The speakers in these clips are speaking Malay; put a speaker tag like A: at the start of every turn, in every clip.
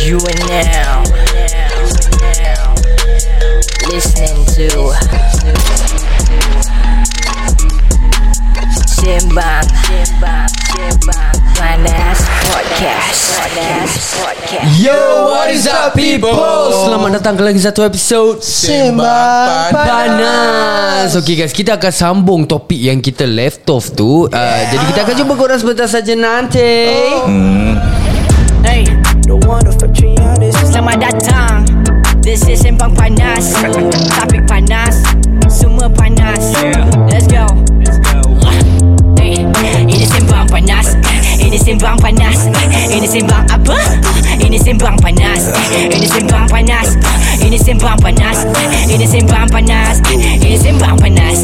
A: You are now listening to Simbang Panas Podcast Panas Podcast
B: Yo, what is up people?
C: Selamat datang ke lagi satu episod
B: Sembang
C: Panas Okay guys, kita akan sambung topik yang kita left off tu uh, Jadi kita akan jumpa korang sebentar saja nanti oh.
A: Hey Selamat datang This is Sembang Panas Topik panas Semua panas Let's go Hey, Ini Sembang Panas Ini Sembang Panas Ini Sembang apa? Ini Sembang Panas Ini Sembang Panas Ini Sembang Panas Ini Sembang Panas Ini Sembang Panas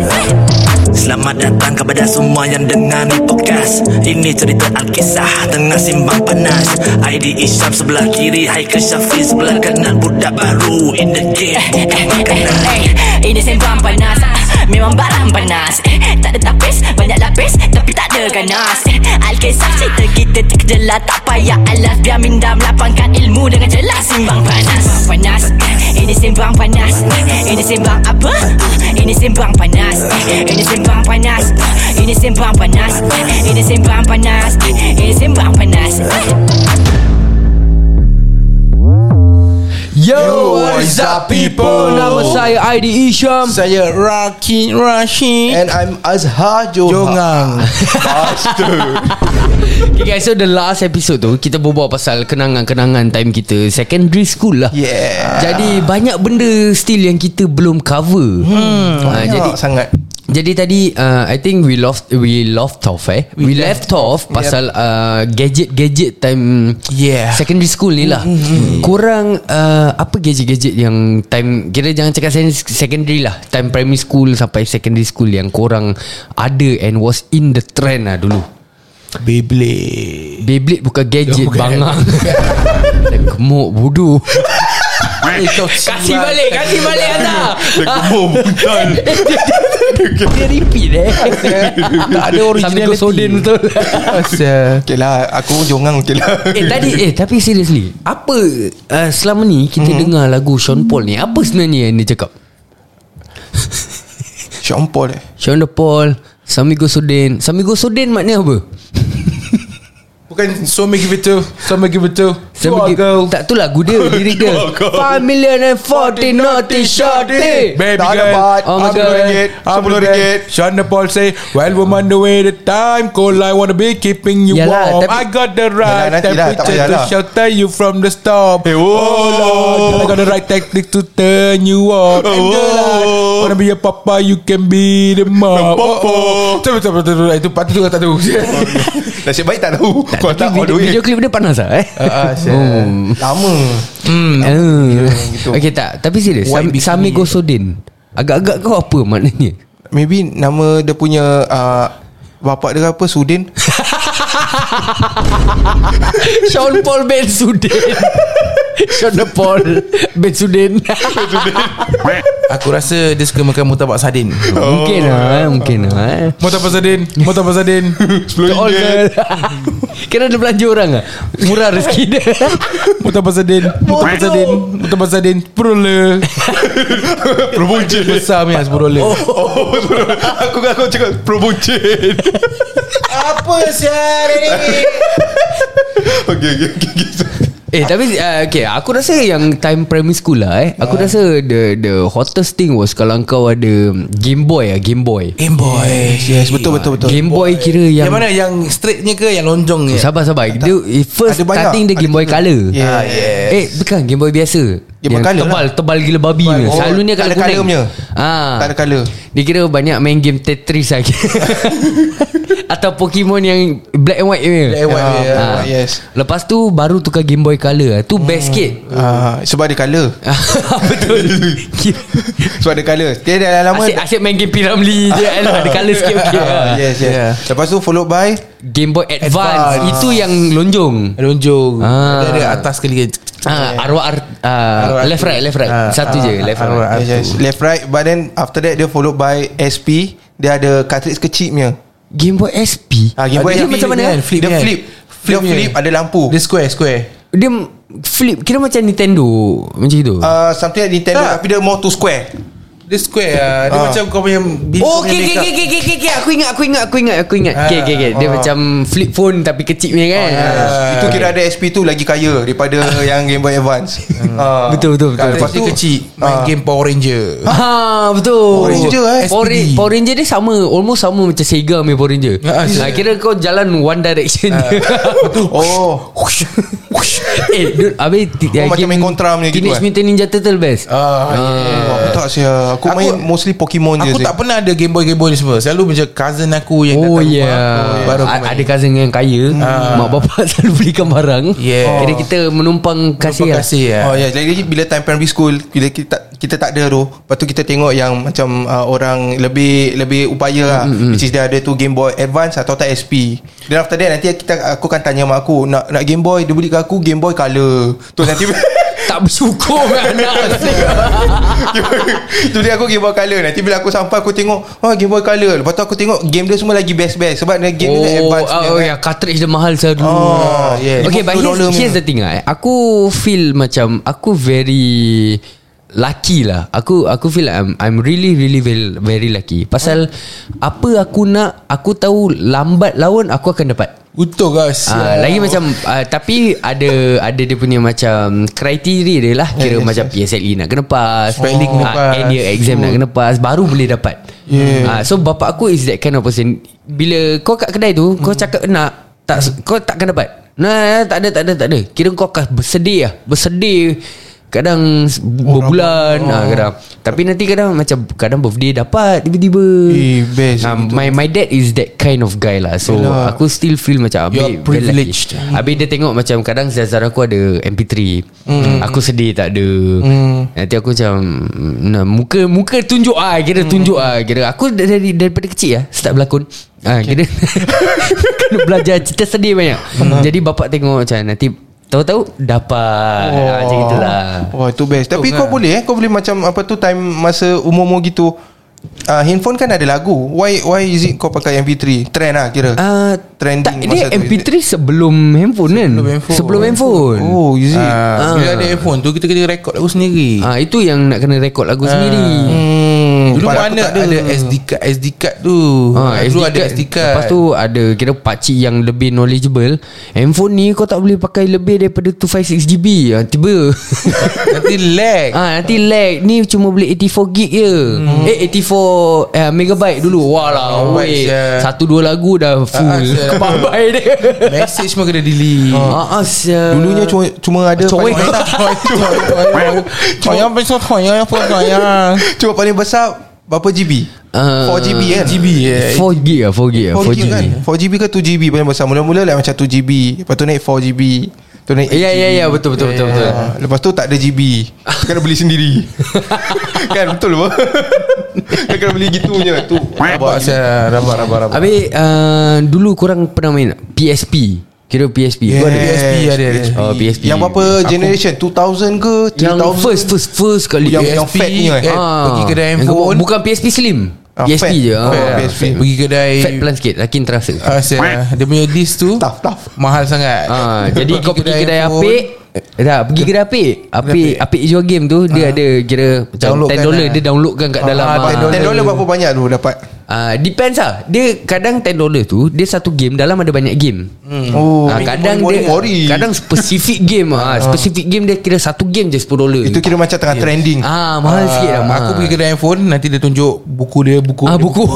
D: Selamat datang kepada semua yang dengar ni podcast Ini cerita Alkisah tengah simbang panas ID Isyam sebelah kiri Haikal Syafiq sebelah kanan Budak baru in the game bukan makanan
A: Eh, Ini sembang panas Ah, Memang barang panas Eh, Tak ada tapis Banyak lapis Tapi tak ada ganas Eh, Alkisah cerita kita terkejelah Tak payah alas Biar minda melapangkan ilmu Dengan jelas Simbang panas Simbang panas Eh, Ini simbang panas Eh, Ini simbang apa? Ah, Ini simbang panas Eh, Ini simbang panas Ah, Ini simbang panas Eh, Ini simbang panas Eh, Ini simbang panas Eh.
B: Yo, what is up, people?
C: Nama saya Aidi Isham
E: Saya Rakin Rashid
B: And I'm Azhar Johar
E: Jongang
C: Okay guys, so the last episode tu Kita berbual pasal kenangan-kenangan time kita Secondary school lah
B: Yeah.
C: Jadi banyak benda still yang kita belum cover hmm, Jadi
B: Jadi sangat
C: Jadi tadi uh, I think we lost we left off eh. We, we left, left off pasal uh, gadget-gadget time
E: Yeah.
C: secondary school ni lah. Mm-hmm. Kurang uh, apa gadget-gadget yang time kira jangan cakap sen- secondary lah. Time primary school sampai secondary school yang kurang ada and was in the trend lah dulu.
E: Beyblade
C: Beyblade bukan gadget bukan. bangang. Gemuk bodoh. Eh, kasih balik, kasih balik Azhar. Dia repeat eh.
E: Tak ada
C: Sambil kau sodin betul.
E: Asal
B: Okay lah Aku Jongang okay lah
C: Eh tadi eh tapi seriously apa uh, selama ni kita mm-hmm. dengar lagu Sean Paul ni apa sebenarnya yang dia cakap?
B: Sean Paul eh
C: Sean Paul, Samigo Sudin. Samigo Sudin maknanya apa?
E: Bukan suami give it to Suami give it to
C: Sami Go- tak tu lagu dia lirik dia. Five million and forty naughty shorty.
E: Baby
B: Tak ada
E: girl
B: part
C: Oh my
B: RM10
C: God.
B: RM10
E: RM10 Shonda Paul say While woman the way the time cold I wanna be keeping you
C: Yalah,
E: warm
C: tapi-
E: I got the right
B: Yalah, nanti lah, tak
E: temperature
B: payah
E: To
B: lah.
E: shelter you from the storm
B: Eh, oh.
E: Lord I got the right technique to turn you on
B: Oh,
E: And the light Wanna be a papa You can be the mom
B: papa.
E: Oh, oh. Tunggu, tunggu, tunggu, tunggu. Itu patut tu kata tu
B: Nasib baik tak tahu Kau
C: Tapi
B: tak all the
C: video,
B: way
C: video klip dia panas lah eh?
B: Ah, asyik. Lama
C: Hmm. Uh. Okay tak Tapi serius Sam, Samigo Sudin Agak-agak kau apa maknanya
B: Maybe nama dia punya uh, Bapak dia apa Sudin
C: Sean Paul Ben Sudin Sean Paul Ben Sudin
E: Aku rasa dia suka makan mutabak sardin
B: Oh.
C: Mungkin lah Mungkin lah
E: Mutabak sardin Mutabak sardin
C: All girl Kira dia belanja orang lah Murah rezeki dia
E: Mutabak sardin Mutabak sardin Mutabak sardin Perula
B: Probuncin
E: Besar punya Perula oh.
B: Oh betul. Aku aku cakap Probuncin
E: Apa siar ini
B: Okay okay okay, okay
C: Eh tapi uh, Okay aku rasa yang Time primary school lah eh
B: Ah.
C: Aku rasa The the hottest thing was Kalau kau ada Game Boy lah Game Boy
E: Game Boy
C: Ya,
B: Yes betul betul betul
C: Game Boy kira yang,
E: Yang mana yang straightnya ke Yang lonjongnya
C: Sabar-sabar Dia eh, first
B: Ada banyak.
C: starting dia Game Boy Color
B: Yeah. Ah,
F: ya.
C: yes. Eh bukan Game Boy biasa
B: Game Boy
C: Yang
B: Colour
C: tebal
B: lah.
C: Tebal gila babi punya.
B: Oh,
C: Selalunya
B: tak
C: kalau
B: ada colour
C: kuning
B: punya.
C: ah.
B: Tak ada colour.
C: Dia kira banyak main game Tetris lagi Atau Pokemon yang Black and white punya
E: Black and white,
B: Ah,
E: yeah.
C: Ah.
B: Yes
C: Lepas tu baru tukar Game Boy Color lah. Tu best sikit
B: Ah, sebab ada colour
C: Betul
B: Sebab ada colour Dia dah lama
C: Asyik, asyik main game Piramli je Alah, Ada colour sikit okay.
B: Ah, Yes yes
E: Yeah.
B: Lepas tu followed by
C: Game Boy Advance,
E: Advance.
C: Itu yang lonjong
E: Lonjong
C: Ah.
E: Dia ada atas sekali
C: Ah, arwah ar, ah, left right left right
E: Ah,
C: satu
E: ah,
C: je left
E: arwah
C: right.
E: ar-
B: yes, yes. Left right But then after that Dia followed by SP Dia ada cartridge kecil punya
C: Game Boy SP.
B: Ah, Game Boy
C: dia
B: SP
C: macam mana?
B: Dia flip Dia flip,
E: punya.
B: ada lampu
E: Dia square square
C: Dia flip kira macam Nintendo macam itu. Uh,
B: Uh, something like Nintendo
F: Tak.
B: Tapi dia more to square
F: Dia square lah Dia
B: Ah.
F: macam kau punya bil-
C: Oh,
F: kau punya
C: okay, okay,
F: makeup.
C: okay, okay, okay, okay, Aku ingat, aku ingat, aku ingat, aku ingat. Okay, okay, okay. Dia
B: ah.
C: macam flip phone tapi kecil punya kan.
B: uh, Itu kira ada SP tu Lagi kaya Daripada yang Game Boy Advance uh,
C: Betul, betul, betul.
F: Kat
B: Lepas
F: dia
B: tu
F: kecil Main
B: Ah.
F: game Power Ranger
C: Ha betul
B: Power Ranger, eh,
C: Power,
F: SPD.
C: Power Ranger dia sama Almost sama macam Sega punya Power Ranger
F: Ah,
C: ha, Kira kau jalan One direction
B: Ah.
C: je
B: Oh
C: Eh dude Habis ti-
B: Oh, macam main Contra punya gitu,
C: Teenage
B: eh?
C: Mutant Ninja Turtle best
F: Ah,
B: Wah, Aku tak saya Aku,
F: Aku-
B: main mostly Pokemon je
F: Aku
B: Zek.
F: tak pernah ada Game Boy Game Boy ni semua Selalu macam cousin aku yang
C: Oh
F: datang
C: ya
F: rumah
C: yeah.
F: Baru aku
C: A-
F: main
C: Ada cousin yang kaya Ah. Mak bapak selalu belikan barang
F: Yeah.
C: Kira kita menumpang kasih lah.
F: kasih ya.
B: Oh ya, jadi bila time primary school bila kita tak- kita tak ada tu, lepas tu kita tengok yang macam uh, orang lebih lebih upaya lah, mm-hmm. which is dia ada tu Game Boy Advance atau tak SP. Then after that nanti kita aku akan tanya mak aku nak nak Game Boy, dia beli kat aku Game Boy color. Tu nanti
C: Tak bersyukur anak
B: tu dia aku Game Boy color. Nanti bila aku sampai aku tengok, oh Game Boy color. Lepas tu aku tengok game dia semua lagi best-best sebab dia game dia
C: Oh,
B: advance.
C: oh, oh ya, cartridge dia mahal saya dulu.
B: Oh, yeah.
C: Okay, but here's,
B: $50 punya.
C: here's the thing lah. eh. Aku feel macam aku very lucky lah. Aku aku feel like I'm I'm really really very very lucky. Pasal apa aku nak, aku tahu lambat laun aku akan dapat.
F: Utuh guys
C: Ah, lagi macam ah, tapi ada ada dia punya macam kriteria dia lah kira macam PSLE nak kena pass,
F: Spelling kena
C: ah,
F: pass.
C: end year exam nak kena pass baru boleh dapat. Yeah. so bapak aku is that kind of person. Bila kau kat kedai tu kau cakap nak tak kau tak akan dapat. Nah, nah, tak ada tak ada tak ada. Kira kau akan bersedih lah Bersedih Kadang s- berbulan oh. ha, kadang. Tapi nanti kadang macam Kadang birthday dapat Tiba-tiba
B: Eh, best
C: Ah, my my dad is that kind of guy lah So Yalah. aku still feel macam
F: You are
C: Habis very
F: privileged.
C: lucky. Habis dia tengok macam Kadang Zazar aku ada MP3 Aku sedih tak ada Nanti aku macam nah, Muka muka tunjuk ah Kira tunjuk ah Kira aku dari, daripada kecil lah Start berlakon ah, Kira Kena belajar cerita sedih banyak Jadi bapak tengok macam Nanti Tahu-tahu dapat oh. ah, Macam itulah
B: Wah itu best Tapi kau boleh eh Kau boleh macam Apa tu time Masa umur-umur gitu uh, Handphone kan ada lagu Why why is it kau pakai MP3 Trend lah kira
C: Ah,
B: Trending
C: tak, dia
B: masa tu,
C: MP3 sebelum handphone kan
F: Sebelum handphone.
C: Sebelum handphone
B: Oh is it uh,
F: Ah, Bila ada handphone tu Kita kena rekod aku sendiri
C: Ah itu yang nak kena rekod lagu sendiri.
B: hmm,
F: Dulu
B: pada aku
F: mana
B: tak
F: ada. ada SD card SD card tu
C: Ah,
F: Dulu ada SD card
C: Lepas tu ada Kira pakcik yang lebih knowledgeable Handphone ni kau tak boleh pakai Lebih daripada 256GB ah, Tiba
F: Nanti lag
C: ah, Nanti lag Ni cuma boleh 84GB je Eh 84 eh, Megabyte dulu Walah oh,
F: Hmm. Megabyte,
C: weh
F: yeah.
C: Satu dua lagu dah
F: Ah, ah,
C: full
F: sial.
C: Kebabai dia
F: Message semua kena delete
C: Ah, ah, sial.
B: Dulunya cuma, cuma ada
C: Cowek.
B: paling,
F: Toyang besok toyang apa toyang
B: Cuma paling besar Berapa GB
C: Ah,
B: 4GB kan
F: 4GB, ya.
C: 4GB lah 4GB lah
B: 4GB
C: 4GB
B: kan 4GB ke 2GB paling besar Mula-mula like macam 2GB Lepas tu naik 4GB Lepas tu naik
C: Ya ya ya betul betul betul betul.
B: Ah, Lepas tu tak ada GB Kena beli sendiri Kan betul apa Kau kena beli gitu je Tu
F: Rabak saya Rabak rabak rabak
C: Habis uh, dulu korang pernah main tak? PSP. Kira PSP. Kau ada
F: PSP ada, ada.
C: Oh, PSP.
B: Yang berapa generation 2000 ke 3000
C: Yang first first first kali.
B: Yang-
F: PSP,
B: yang fat ni kan?
F: eh, Pergi kedai
C: Ah. Yang kau-
F: handphone
C: Bukan PSP slim.
B: Ah,
C: PSP
B: fat.
C: je.
B: Fat,
C: ah.
B: ah, PSP.
F: Pergi kedai
C: Fat pelan sikit Lakin terasa
F: Ah, sial. Dia punya disc tu
B: Tough, tough.
F: Mahal sangat
C: ah, Jadi kau pergi kedai
F: handphone,
C: apik Eh, Tak pergi kedai apik Apik Apik jual game tu Dia ada kira macam
F: Downloadkan
C: $10
F: lah.
C: Dia downloadkan kat
F: Ah,
C: dalam ah.
B: 10
F: $10.
B: dolar berapa banyak tu dapat
C: Ah, Depends lah Dia kadang $10 tu Dia satu game Dalam ada banyak game hmm.
B: Oh
C: Ah, kadang dia
B: worry, worry.
C: kadang spesifik game ah spesifik game dia kira satu game je 10 dolar.
B: Itu kira macam tengah trending
C: ah mahal
F: Ah,
C: sikit lah mahal.
F: Aku pergi kedai handphone Nanti dia tunjuk Buku dia Buku
C: ah
F: dia,
C: buku.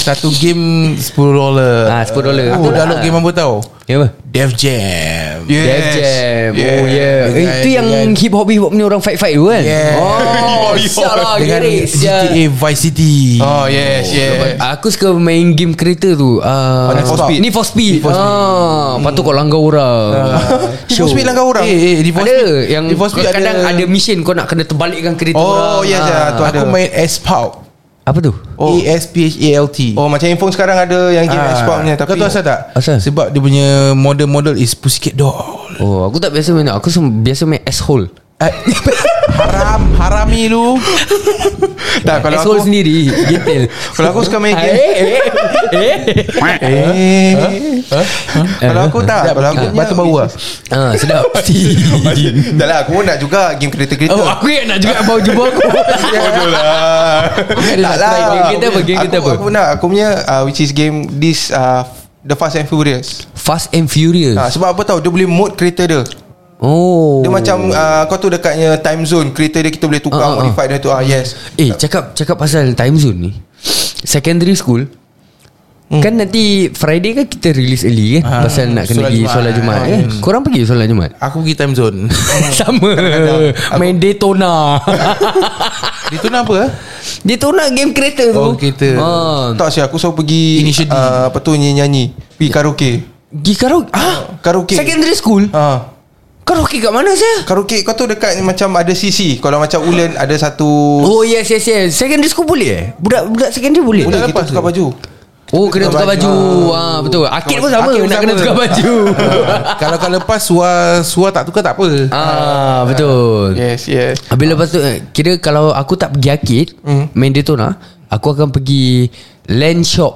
F: Satu game 10 dolar
C: Ah, 10 dolar.
F: Aku
C: Betul
F: download
C: lah.
F: game apa tau
C: ya apa?
F: Def Jam
B: Yes.
C: Def Jam. Oh yeah. Eh,
F: Dengan-
C: itu yang
F: dengan-
C: hip hop hip hop ni orang fight fight tu kan.
F: Yeah.
C: Oh, salah
F: Dengan
C: gerik.
F: GTA Vice City
B: Oh
F: Ah,
B: yes yes
C: Ya. Aku suka main game kereta tu. Ah,
B: Oh, Need for Speed. Hmm.
C: Need for Speed. Ah, lepas tu kau langgar orang.
B: Need for Speed langgar orang?
C: Eh, eh, Need for
F: Ada.
C: Speed. Yang
F: Need for Speed ada-
C: kadang ada mission kau nak kena terbalikkan kereta orang. Ah.
B: Oh yes ya tu ada
F: Aku main Asphalt
C: Apa tu?
F: oh. A-S-P-H-A-L-T
B: Oh macam handphone sekarang ada yang game Xbox punya tapi
F: Kau tahu asal tak?
C: Asal?
F: Sebab dia punya model-model is Pussycat Doll
C: Oh, aku tak biasa main. tau. Aku sem- biasa main asshole.
B: Eh, haram Harami lu
C: Eh,
B: Tak kalau
C: Asshole
B: aku
C: sendiri Detail
B: Kalau aku suka main game
C: Eh eh Eh
B: Eh Kalau aku tak Kalau aku
C: Ah,
B: Batu bau lah
C: Ah, Sedap
B: Dah lah aku nak juga Game kereta-kereta
C: Oh aku yang nak juga Bawa jubah aku
B: Bodoh lah
C: nak
B: Tak lah
C: try. Game kita apa? Game kita
B: Aku-
C: apa?
B: Aku nak Aku punya uh, Which is game This uh, The Fast and Furious
C: Fast and Furious
B: ha, Sebab apa tahu Dia boleh mode kereta dia
C: Oh
B: Dia macam uh, Kau tu dekatnya time zone Kereta dia kita boleh tukar
C: Ah, ah, ah.
B: Modify dia tu ah, Yes
C: Eh cakap cakap pasal time zone ni Secondary school hmm. Kan nanti Friday kan kita release early kan
B: Ah,
C: ha, Pasal nak kena
F: solat
C: pergi
F: Jumaat.
C: solat Jumaat
F: Ah,
C: kan
B: Hmm.
C: Korang pergi solat Jumaat
F: Aku pergi time zone
C: Sama Main Daytona
F: Itu nak apa? eh?
C: Daytona game kereta tu
F: Oh, kereta.
C: ah,
B: Tak sih aku selalu pergi
F: Initially.
B: uh, Apa tu nyanyi-nyanyi Pergi karaoke
C: Pergi karaoke ah,
B: Karaoke
C: Secondary school
B: ha.
C: Karaoke kat mana saya?
B: Karaoke kau tu dekat Macam ada sisi Kalau macam Ulen Ada satu
C: Oh yes yes yes Secondary school boleh eh? Budak-budak secondary boleh
F: eh,
B: Boleh
C: tak?
B: kita tukar baju
C: Oh kena tukar baju ah, Betul Akid pun sama
F: Akid pun
C: Nak
F: sama.
C: kena tukar baju
F: Uh, Kalau kau lepas Suar, suar tak tukar tak apa
C: ah, Betul
B: Yes yes
C: Habis lepas tu eh, Kira kalau aku tak pergi arcade mm. Main Daytona Aku akan pergi Land shop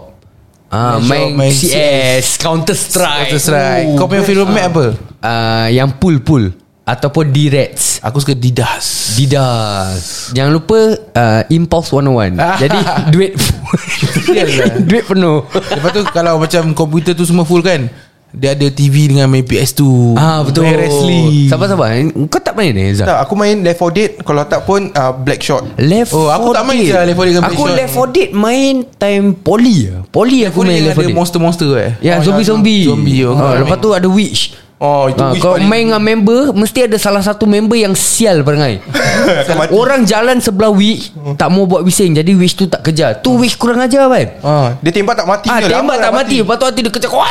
C: Ah, main,
F: shop, main
C: CS, Counter Strike,
F: Counter Strike Kau punya film map apa?
C: Ah, yang pool pool ataupun D-Rats
F: Aku suka Didas
C: Didas Jangan lupa uh, Impulse 101
F: Ah.
C: Jadi duit
F: eh?
C: Duit penuh
F: Lepas tu kalau macam komputer tu semua full kan Dia ada TV dengan main PS2
C: Ah betul
F: Main wrestling
C: Sabar-sabar Kau tak main eh Zah?
B: Tak aku main Left 4 Dead Kalau tak pun uh, Black Shot
C: Left
F: Oh,
C: 4
F: aku tak main
C: Dead.
F: je Left 4 Dead dengan
C: Aku
F: Blackshot.
C: Left 4 Dead main time Poli ah. Poli aku
F: Aku
C: main
F: ni
C: Left 4
F: ada
C: Dead
F: monster-monster eh
C: Ya
F: Oh,
C: zombie-zombie
F: Zombie oh,
C: Ah,
F: kau
C: Lepas
F: main.
C: tu ada witch
B: Oh itu
C: Ha,
B: wish
C: kau
B: paling-
C: main dengan member Mesti ada salah satu member Yang sial perangai
B: Kau mati.
C: Orang jalan sebelah witch Tak mau buat bising Jadi witch tu tak kejar Tu witch kurang ajar kan
B: Ah, dia tembak tak mati
C: Ah,
B: je,
C: tembak
B: lama
C: tak mati. Lepas tu hati dia kecak. Wah!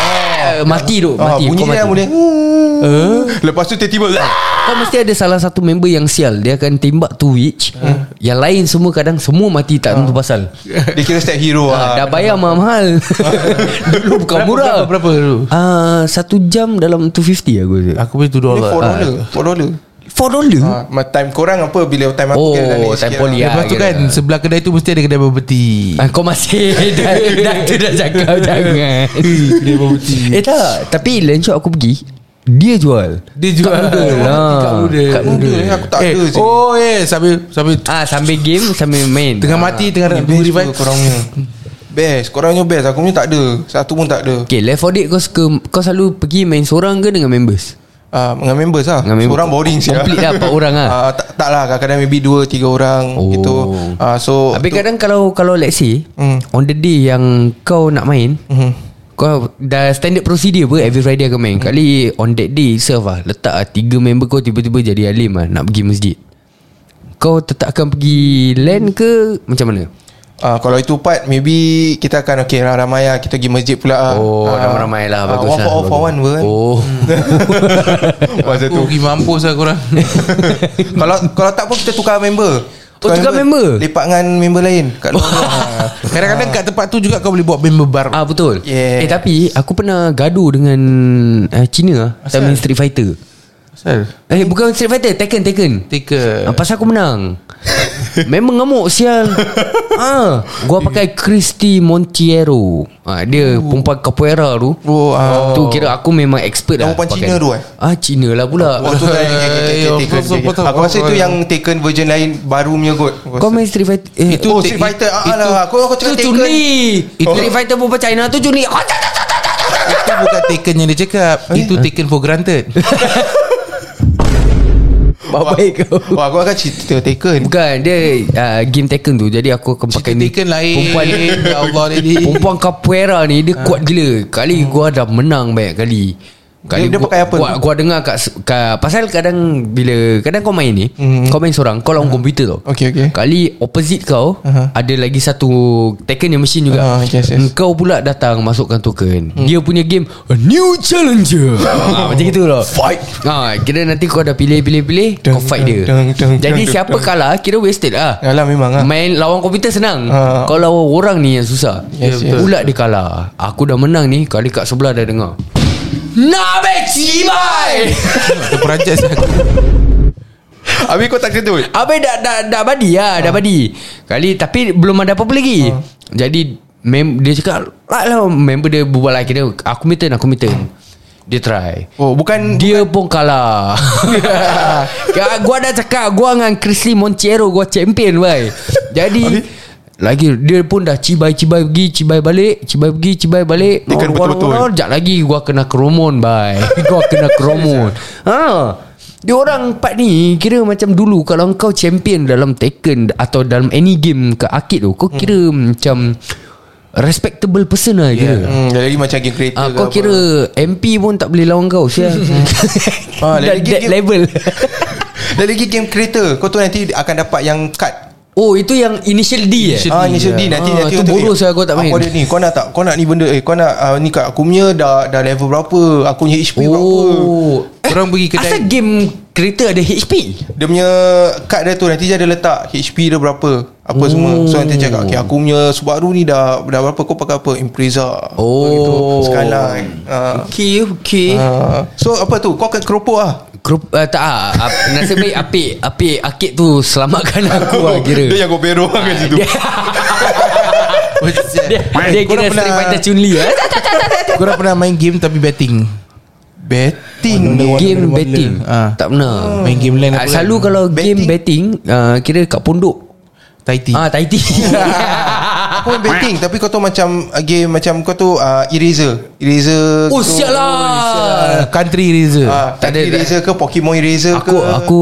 C: Eh, Mati tu
B: Ah,
C: Mati
B: bunyi
C: Kau
B: dia
C: mati Eh?
B: boleh. Lepas tu tiba-tiba ah,
C: Kau mesti ada salah satu member yang sial Dia akan tembak tu witch Yang lain semua kadang Semua mati tak tentu pasal
B: dia kira step hero
C: Ah,
B: ah.
C: Dah bayar mahal Dulu bukan
F: Berapa,
C: murah
F: berapa, berapa dulu?
C: Ah, Satu jam dalam 250 aku rasa
F: Aku beli 2
B: Dia
F: dolar
C: lah.
B: 4 dollar,
C: Ah.
B: 4 dollar.
C: 4 dollar?
B: Ah, ma- time korang apa bila time aku
C: Oh,
B: kira dah naik
C: time
B: sikit
C: poli
B: lah.
C: ah.
F: Lepas tu
C: kira.
F: kan Sebelah kedai tu Mesti ada kedai berpeti
C: Ah, kau masih dah, dah, tu dah cakap jangan. eh tak, tapi lunch aku pergi, dia jual.
F: Dia jual
C: Kat noodle lah.
F: Kat noodle
C: Kat
B: Noodle ni aku tak
F: eh,
B: ada sini.
F: Oh yes Sambil Sambil
C: Ah sambil game sambil main.
F: Tengah mati Tengah
C: ah.
F: nak
B: Best
F: revive
B: tu korangnya. Best, korangnya best. Aku punya tak ada. Satu pun tak ada.
C: Okay, left 4 dead kau suka kau selalu pergi main seorang ke dengan members?
B: Ah, dengan members lah.
C: Dengan member-
B: Seorang boring sih.
C: Complete lah, empat orang lah.
B: Ah, tak, tak lah, kadang-kadang maybe dua, tiga orang
C: Oh.
B: gitu. Ah, so
C: Habis
B: tu-
C: kadang kalau kalau let's say
B: Hmm.
C: on the day yang kau nak main, kau dah standard procedure apa every Friday akan main.
B: Hmm.
C: Kali on that day itself lah letak lah, tiga member kau tiba-tiba jadi alim lah nak pergi masjid. Kau tetap akan pergi LAN ke macam mana?
B: Ah, kalau itu part Maybe Kita akan Okay lah ramai lah Kita pergi masjid pula lah.
C: Oh,
B: Ah,
C: ramai-ramai lah
B: ah,
C: bagus
B: One
C: lah.
B: for all for one pun kan?
C: Oh.
B: Masa tu
F: Aku pergi mampus lah korang
B: Kalau kalau tak pun kita tukar member
C: Oh, tukar member?
B: Lepak dengan member lain Kat luar Ah.
F: Kadang-kadang kat tempat tu juga Kau boleh buat member bar
C: Ah betul.
B: Yeah.
C: Eh tapi aku pernah gaduh dengan uh, Cina lah time main Street Fighter.
F: Asal
C: Eh bukan Street Fighter, Tekken, Tekken.
F: Take
C: Ah, pasal aku menang Memang ngamuk sial ah, Gua pakai Christy Montiero ah, Dia perempuan capoeira tu
B: Oh, ah.
C: Tu kira aku memang expert lah
B: Yang perempuan
C: pakai.
B: Cina tu eh?
C: Ah Cina lah pula
B: Oh tu kan okay, okay, okay, taken,
F: Eh, apa- apa-
B: taken.
F: apa-
B: Aku rasa
F: apa-
B: itu
F: apa-
B: yang taken version lain Baru punya kot
C: Kau main Street Fighter eh,
B: Itu oh, Street Fighter ah, lah. Aku, aku
C: Tu
B: cakap Oh. taken
C: Chun-Li
B: Itu-
C: Street Fighter perempuan China tu Chun-Li oh, tak, tak, tak, tak, tak.
F: Itu bukan taken yang dia cakap Itu taken for granted
C: Baik kau
B: Wah aku akan cerita taken
C: Bukan Dia uh, game Tekken tu Jadi aku akan pakai ni
F: Taken lain
C: Perempuan
F: Ya Allah ni
B: Eh,
C: Perempuan capoeira ni
B: Ha.
C: Dia kuat gila Kali gua dah menang banyak kali Kali
B: Hmm. Dia- dia
C: gua,
B: pakai apa
C: Gua,
B: tu?
C: gua dengar kat, se- kat Pasal kadang Bila Kadang kau main ni Kau main seorang Kau lawan komputer tau
B: Hmm. Okay, okay.
C: Kali opposite kau Ada lagi satu Tekken yang machine juga
B: Ah, yes, yes. Hmm.
C: Kau pula datang Masukkan token Dia punya game A new challenger ha, Macam gitu lah Fight ha, Kira nanti kau dah pilih-pilih-pilih Kau
B: Deng,
C: fight dia
B: deng, deng, deng,
C: Jadi
B: deng, deng,
C: siapa
B: deng.
C: kalah Kira wasted lah
B: Alah memang lah
C: Main lawan komputer senang
B: Ah.
C: Kau lawan orang ni yang susah
B: Yes, yes.
C: Pula dia kalah Aku dah menang ni Kali kat sebelah dah dengar Nabe Cibai
F: Terperanjat saya
B: Habis kau tak kentut
C: Habis dah, dah, dah badi lah
B: Ah.
C: Dah badi Kali Tapi belum ada apa-apa lagi Jadi mem, Dia cakap Lah lah Member dia berbual lah Kira aku minta Aku minta Dia try
B: Oh bukan
C: Dia pun kalah Ka- Gua dah cakap Gua dengan Chrisley Monchero Gua champion bhai Jadi Lagi Dia pun dah cibai-cibai pergi Cibai balik Cibai pergi Cibai balik
B: Dia kena betul-betul.
C: Sekejap lagi Gua kena keromon bhai Gua kena keromon Ha dia orang part ni Kira macam dulu Kalau kau champion Dalam Tekken Atau dalam any game Ke arcade tu Kau
B: Hmm.
C: kira macam Respectable person lah kira
B: hmm, Dia lagi macam game kereta
C: Ah, kau
B: ke Hmm, lah apa.
C: kira MP pun tak boleh lawan kau Sia ah,
B: Ah,
C: that,
B: lagi
C: that
B: game-
C: level
B: Dia lagi game kereta Kau tu nanti akan dapat yang kad
C: Oh itu yang initial D eh
B: Ah, initial D nanti
C: Ah,
B: nanti
C: tu
B: nanti,
C: boros
B: eh,
C: lah kau tak main.
B: Aku ada ni. Kau nak tak? Kau nak ni benda eh kau nak ah, ni kat aku punya dah dah level berapa? Aku punya HP berapa?
C: Oh eh,
F: Orang pergi kedai-
C: Asal game kereta ada HP
B: Dia punya kad dia tu nanti dia ada letak HP dia berapa, apa semua. So nanti cakap okay, aku punya Subaru ni dah dah berapa kau pakai apa? Impreza.
C: Oh.
B: Gitu.
F: lah.
B: Skyline. Ah.
C: Okay okay uh,
B: Ah. so apa tu? Kau akan keropok ah.
C: Grup, uh, Tak ah, ah, Nasib baik apik Apik akid tu Selamatkan aku lah kira
B: Dia yang gobero ah, kat situ.
C: Dia, dia
F: Korang
C: kira
F: pernah-
C: Street Fighter Chun Li eh?
F: Korang pernah main game tapi betting
B: Betting.
C: Game betting
F: Ah.
C: Tak pernah
F: Main game lain
C: Ah,
F: apa
C: Selalu
F: lain?
C: kalau game betting ah, Kira kat pondok
F: Taiti
C: Ah, Taiti
B: Aku main betting tapi kau tu macam ah, game macam kau tu ah, eraser. Eraser.
C: Oh
B: tu-
C: siap lah
F: Uh, Country Razer
B: Ah,
C: Tak
B: tak
C: ada-
B: ada eraser ke Pokemon eraser
C: Aku
B: ke?
C: aku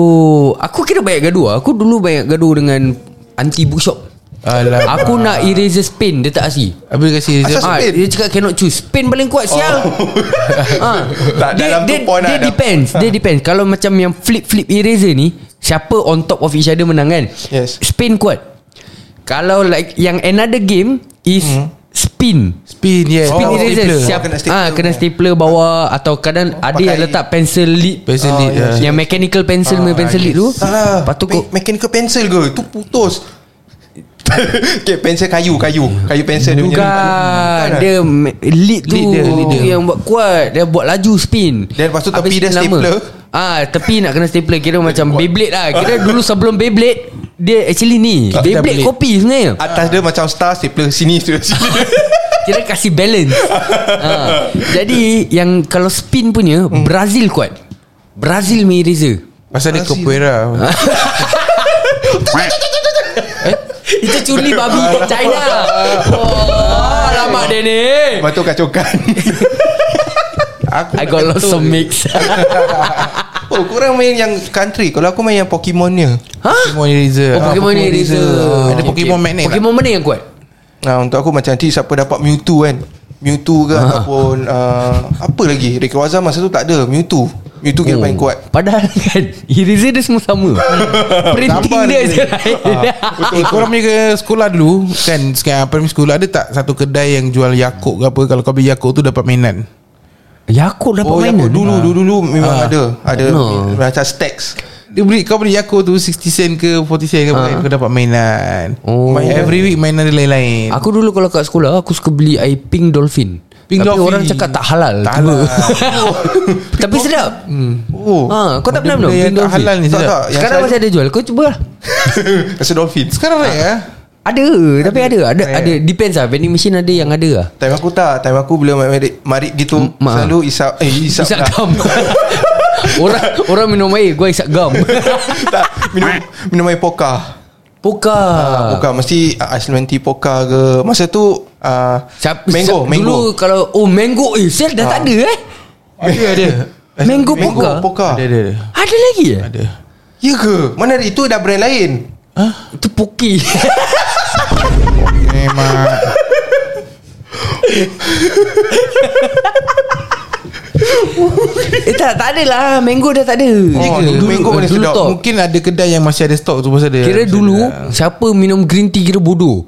C: aku kira banyak gaduh. Aku dulu banyak gaduh dengan anti bookshop.
F: Alah.
C: Aku nak eraser spin Dia tak kasi
F: Habis dia kasi Razer
B: Asal
C: Ah,
B: spin? Oh.
C: dia cakap cannot choose Spin paling kuat sial ah.
B: Tak, dalam tu
C: dia,
B: point lah.
C: dia
B: ada.
C: depends Dia depends Kalau macam yang flip-flip eraser ni Siapa on top of each other menang kan
B: Yes.
C: Spin kuat Kalau like Yang another game Is
B: Hmm.
C: spin
F: Spin yes
C: Spin
B: Oh,
C: eraser
B: stapler.
C: siap,
B: Kena
C: kena
B: stapler.
C: stapler, ah, kena stapler bawah Atau kadang Ada yang
B: pakai-
C: letak pencil lead
F: Pencil lead,
C: yes,
F: ah.
C: Yang mechanical pencil punya pencil lead tu
B: Salah
C: Lepas tu kau
B: Me- Mechanical pencil ke Tu putus Okay pencil kayu Kayu Kayu pencil dia punya
C: Bukan
B: Bukan
C: Dia me- lead tu
F: Lead dia, lead dia.
C: Yang buat kuat Dia buat laju spin
B: Then lepas tu tepi
C: Habis
B: dia
C: lama.
B: stapler.
C: Ah, Tepi nak kena stapler Kira macam Beyblade lah Kira dulu sebelum Beyblade Dia actually ni
F: Tak,
C: Beyblade
F: Beyblade.
C: kopi sebenarnya
B: ah. Atas dia macam star Stapler sini Stapler sini
C: Kira kasih balance ha. Jadi Yang kalau spin punya
B: Hmm.
C: Brazil kuat Brazil punya eraser
F: Pasal dia Capoeira
B: Ha?
C: Itu culi babi China Wah Lama dia ni
B: Lepas tu kacokan Aku
C: I got lots of mix
B: Oh korang main yang country Kalau aku main yang Pokemon ni
C: Hah?
F: Pokemon Razer
C: Oh, Pokemon ni Eraser Oh,
F: Ada Pokemon Magnet tak?
C: Pokemon mana yang kuat?
B: Nah Ha, untuk aku macam Nanti siapa dapat Mewtwo kan Mewtwo
C: Ha.
B: ke Ataupun uh, Apa lagi Rayquaza masa tu tak ada Mewtwo Mewtwo kira
C: Oh.
B: paling kuat
C: Padahal kan Eraser dia semua sama Printing
F: Hmm.
B: Gambar
C: dia
B: dia
C: je Ah.
B: lain.
C: lain
F: Eh, korang punya ke sekolah dulu Kan sekarang primary school Ada tak satu kedai yang jual Yakult ke apa Kalau kau beli Yakult tu dapat mainan
C: Yakult Ya, dapat
B: Oh yang
C: mainan
B: dulu Dulu dulu memang ada Ada
C: Ah. No.
B: Macam stacks
F: dia beli, Kau beli Yakult tu 60 sen ke 40 sen ke apa Kau dapat mainan
C: Ah. Oh.
F: Main Every week mainan dia lain-lain
C: Aku dulu kalau kat sekolah Aku suka beli air pink dolphin
F: Pink
C: Tapi
F: Dolphin.
C: orang cakap tak halal
F: Tak
C: Cuba.
F: halal.
C: Tapi sedap
B: Oh
C: ha, Kau tak pernah belum
F: Benda yang
C: Pink
F: tak
C: dolphin
F: halal ni
B: Tak,
F: sedap.
B: tak. Yang
C: Sekarang
B: saya-
C: masih ada jual Kau cuba lah
B: Rasa dolphin
F: Sekarang rare ah.
C: ada, Tapi ada Ada,
B: Oh, ya.
C: ada. Depends lah Vending machine ada yang ada lah
B: Time aku tak Time aku bila marik, marik gitu
C: Ma.
B: Selalu isap Eh isap,
C: Isap
B: lah.
C: gam Orang orang minum air Gua isap gam
B: tak, Minum Minum air poka
C: Poka
B: uh, Poka Mesti uh, Iceland tea poka ke Masa tu uh,
C: Siap-
B: Mango
C: siap-
B: Mango Ah.
C: Dulu kalau Oh mango Eh sel dah tak ada eh
F: Ada ada
C: Mango,
B: Mango
C: poka
B: poka
F: Ada ada ada.
C: Ada lagi eh
F: Ada
B: Ya ke Mana ada- itu dah brand lain
C: Itu poki
F: Memang
C: Eh tak Tak ada lah Mango dah tak ada
B: Oh, dulu mango mana sedap.
C: top.
F: Mungkin ada kedai yang masih ada stok tu pasal dia
C: Kira
F: Masih
C: dulu
F: ada.
C: Siapa minum green tea Kira bodoh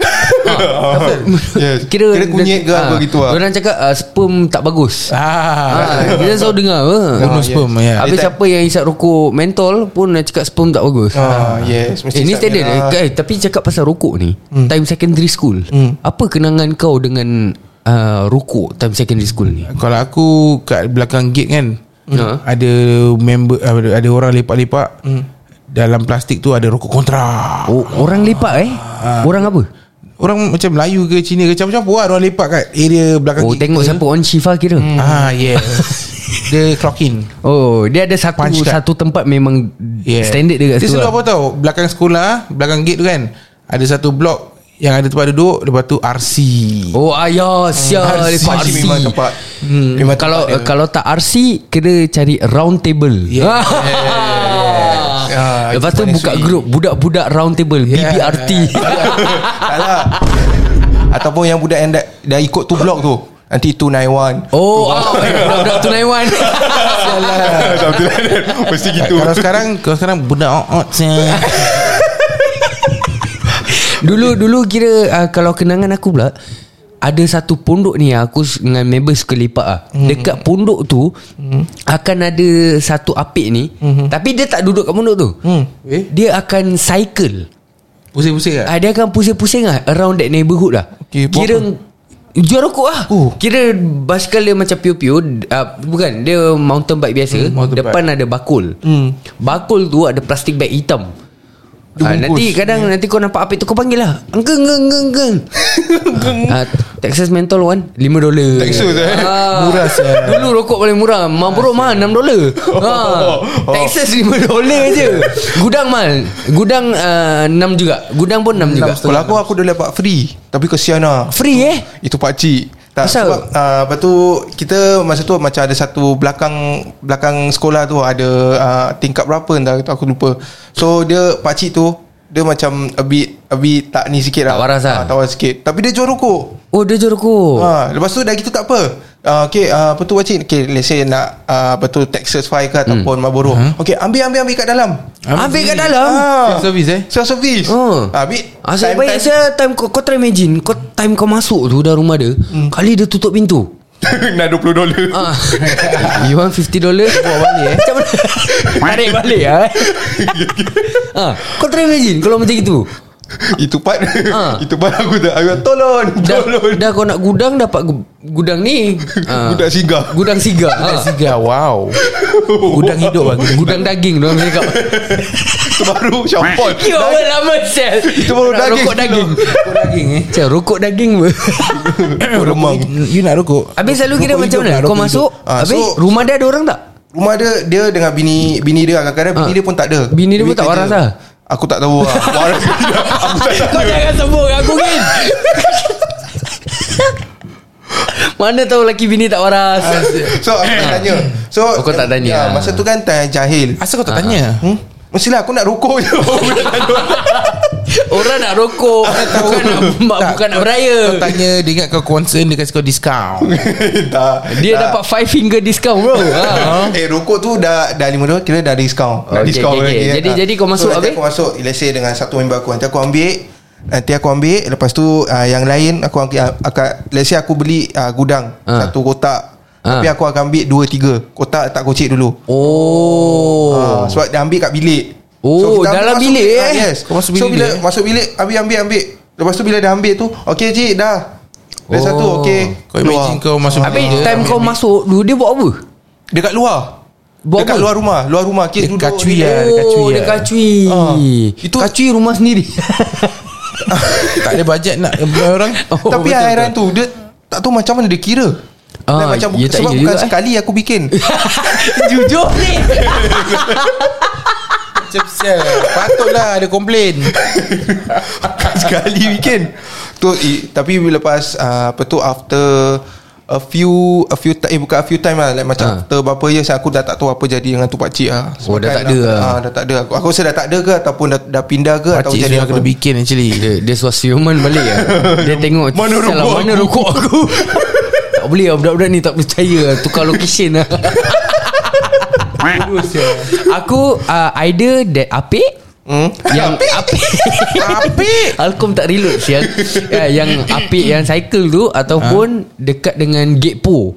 B: yes. Kira Kira
C: Ah.
B: kunyit ke apa gitu lah
C: Orang cakap ah, Sperm tak bagus
F: Ah,
C: Ah, Kita selalu dengar apa
F: bonus sperm ya.
C: Habis
B: Dia tak-
C: siapa yang isap rokok mentol Pun nak cakap sperm tak bagus
B: Ah, yes, mesti lah.
C: Eh, ni
B: isap
C: standard
B: merah.
C: eh. eh, Tapi cakap pasal rokok ni Time secondary school Apa kenangan kau dengan uh, Rokok time secondary school ni
F: Kalau aku kat belakang gate kan eh,
C: Ha. Hmm.
F: Ada member ada, ada orang lepak-lepak dalam plastik tu ada rokok kontra.
C: Oh, orang lepak eh? Orang apa?
F: Orang macam Melayu ke Cina ke Macam-macam lah Orang lepak kat area belakang
C: Oh,
F: kita.
C: tengok siapa on Shifa kira.
F: Ah yes Dia clock in
C: Oh, dia ada satu
F: Punch card.
C: satu tempat memang
F: yeah.
C: standard dia kat
F: Dia
C: situ. lah.
F: selalu apa tau Belakang sekolah Belakang gate tu kan Ada satu blok Yang ada tempat duduk Lepas tu RC
C: Oh ayah Sia
B: RC
C: lepak RC
B: memang tempat hmm. Memang
C: Kalau eh,
B: tempat dia.
C: kalau tak RC Kena cari round table yeah.
B: Ah,
C: Lepas tu
B: mana
C: buka
B: sui.
C: grup Budak-budak round table yeah. BBRT
B: Tak lah Ataupun yang budak yang dah, dah ikut tu blok tu Nanti 291
C: Oh ah, Budak-budak tunai wan
B: Mesti
F: Kalau sekarang Kalau sekarang Budak
C: oh,
F: oot saya
C: Dulu dulu kira uh, Kalau kenangan aku pula ada satu pondok ni yang Aku s- dengan member suka lepak lah. hmm. Dekat pondok tu hmm. Akan ada Satu apik ni hmm. Tapi dia tak duduk kat pondok tu hmm.
F: Eh?
C: Dia akan cycle
F: Pusing-pusing
C: Ah,
F: kan
C: dia akan pusing-pusing lah Around that neighborhood lah
B: Okay, buat
C: Kira Jual rokok lah
F: Oh.
C: Kira basikal dia macam pio-pio uh, Bukan Dia mountain bike biasa hmm,
F: mountain
C: Depan ada bakul hmm. Bakul tu ada plastik bag hitam Ah, nanti kadang nanti kau nampak apa tu kau panggil lah. Engkeng engkeng engkeng. engkeng. Ah, Texas Menthol one 5 dolar.
B: Texas, eh?
C: Murah Dulu rokok paling murah. Marlboro mah 6 dolar. Ha. Texas 5 dolar je. Gudang mal. Gudang uh, 6 juga. Gudang pun 6 juga.
B: Kalau aku aku dah lepak free Tapi kesian lah
C: Free eh?
B: Itu pakcik tak,
C: Kenapa?
B: sebab uh, Lepas tu Kita masa tu Macam ada satu Belakang Belakang sekolah tu Ada uh, Tingkat berapa Entah tu aku lupa So dia Pakcik tu Dia macam A bit A bit tak ni sikit lah
C: Tak waras lah.
B: Ah, Tak waras sikit Tapi dia jual rokok
C: Oh dia jual rokok.
B: Ha, lepas tu dah gitu tak apa. Uh, okay, uh, apa tu wacik? Okay, let's say nak uh, apa tu Texas Fire ke ataupun
C: Hmm.
B: Marlboro. Okay, ambil ambil ambil kat dalam.
C: Ambil kat dalam.
B: Ah.
F: Service eh
B: Self service.
C: Oh.
B: Ah, Ambil.
C: Asyik baik time. saya time kau, kau try imagine Kau time kau masuk tu dah rumah dia hmm. Kali dia tutup pintu
B: Nak 20 dolar.
C: Ah. You want 50 dollar Bawa balik eh Macam mana Tarik balik lah eh ah. Kau try imagine Kalau macam itu
B: Itu part.
C: Ah.
B: Itu part aku dah. Aku dah, tolong,
C: Dah,
B: tolong.
C: dah kau nak gudang Dapat gu- gudang ni ah.
B: Budak singgah.
C: Gudang sigar ah.
F: Tiga wow
C: Gudang hidup lah Gudang daging Diorang cakap
B: Itu baru syampol.
C: You apa Ya lama sel
B: Itu baru
C: Nak
B: daging.
C: Rokok daging
F: Rokok daging eh
C: Macam rokok daging pun
B: Remang.
F: You nak rokok
C: Habis selalu kira
F: Rokok
C: macam
F: hidup
C: mana
F: lah,
C: Kau
F: rokok
C: masuk
B: Ah,
C: Habis
B: so-
C: rumah dia ada orang tak
B: Rumah dia Dia dengan bini Bini dia kadang-kadang Bini
C: Ah.
B: dia pun tak ada
C: Bini dia pun tak
B: kerja.
C: waras lah.
B: Aku tak tahu lah Waras ke tidak Aku tak
C: Kau jangan sebut aku kan Mana tahu lelaki bini tak waras
B: Ah, So aku tak tanya So
C: Oh, kau tak tanya.
B: ya, Masa tu kan tanya jahil
F: Asal kau tak tanya
C: Ah.
B: hmm? Mestilah aku nak rokok je
C: Orang nak rokok Bukan nak, bukan nak beraya
F: Kau tanya Dia ingat kau concern Dia kasi kau discount
B: Tak
C: Dia
B: tak.
C: dapat 5 finger discount bro ha.
B: Eh rokok tu dah Dah lima dolar Kira dah diskaun Dah
C: Okay, okay,
B: diskaun
C: okay.
B: lagi
C: Jadi-
B: Ah.
C: jadi kau masuk
B: so, nanti
C: habis?
B: aku masuk Let's say dengan satu member aku Nanti aku ambil Nanti aku ambil Lepas tu uh, Yang lain aku, ang- ah, akan Let's say aku beli uh, Gudang
C: Ah.
B: Satu kotak
C: Ah.
B: Tapi aku akan ambil Dua tiga Kotak tak kocik dulu
C: Oh
B: Ah, sebab dia ambil kat bilik.
C: Oh,
B: kita ambil
C: dalam
B: masuk
C: bilik, eh?
B: Ah, yes.
F: Kau masuk
B: so
F: bilik
B: bila
F: dia, eh?
B: masuk bilik ambil ambil ambil. Lepas tu bila dah ambil tu, okey cik dah. Dah
C: Oh.
B: satu okey.
F: Kau imagine
B: keluar.
F: kau masuk
C: Habis
F: bilik,
C: time
F: ambil-
C: kau masuk Dulu dia buat apa
B: dekat luar.
C: Buat
B: dekat
C: apa?
B: luar rumah, luar rumah
F: Dia
B: kes duduk.
F: kacui
B: relax.
F: lah. dia kacui
C: Oh dia
F: lah.
C: kacui
B: Ah.
C: Itu Kacui rumah sendiri
F: Tak ada bajet nak Beli orang
C: Oh,
B: Tapi
C: betul,
B: hairan tu dia tak tahu macam mana dia kira.
C: Ah,
B: Dan macam
C: ya tak ya
B: sebab bukan
C: juga, eh.
B: sekali aku bikin.
C: Jujur ni
F: Macam sial Patutlah ada komplain
B: sekali bikin. Tu eh, tapi lepas uh, apa tu after a few a few time eh bukan a few time lah like, macam
C: Ha.
B: after berapa years aku dah tak tahu apa jadi dengan tu pak cik ah.
C: Oh, dah tak ada lah.
B: ah. dah tak ada. Aku, aku rasa dah tak ada ke ataupun dah, dah pindah ke atau
F: Pakcik
B: jadi
F: sudah
B: apa.
F: kena bikin actually
C: Dia, dia suruh siuman balik lah. Dia tengok
B: Mana
C: "Sial lah,
B: rokok
C: mana
B: aku?"
C: rokok aku Tak boleh lah Budak-budak ni tak percaya lah. Tukar location lah Aku uh, Either that apik
B: Hmm?
C: yang apik Apik Alkom tak reload sial ya, Yang apik Yang cycle tu
B: Ha?
C: Ataupun Dekat dengan gate po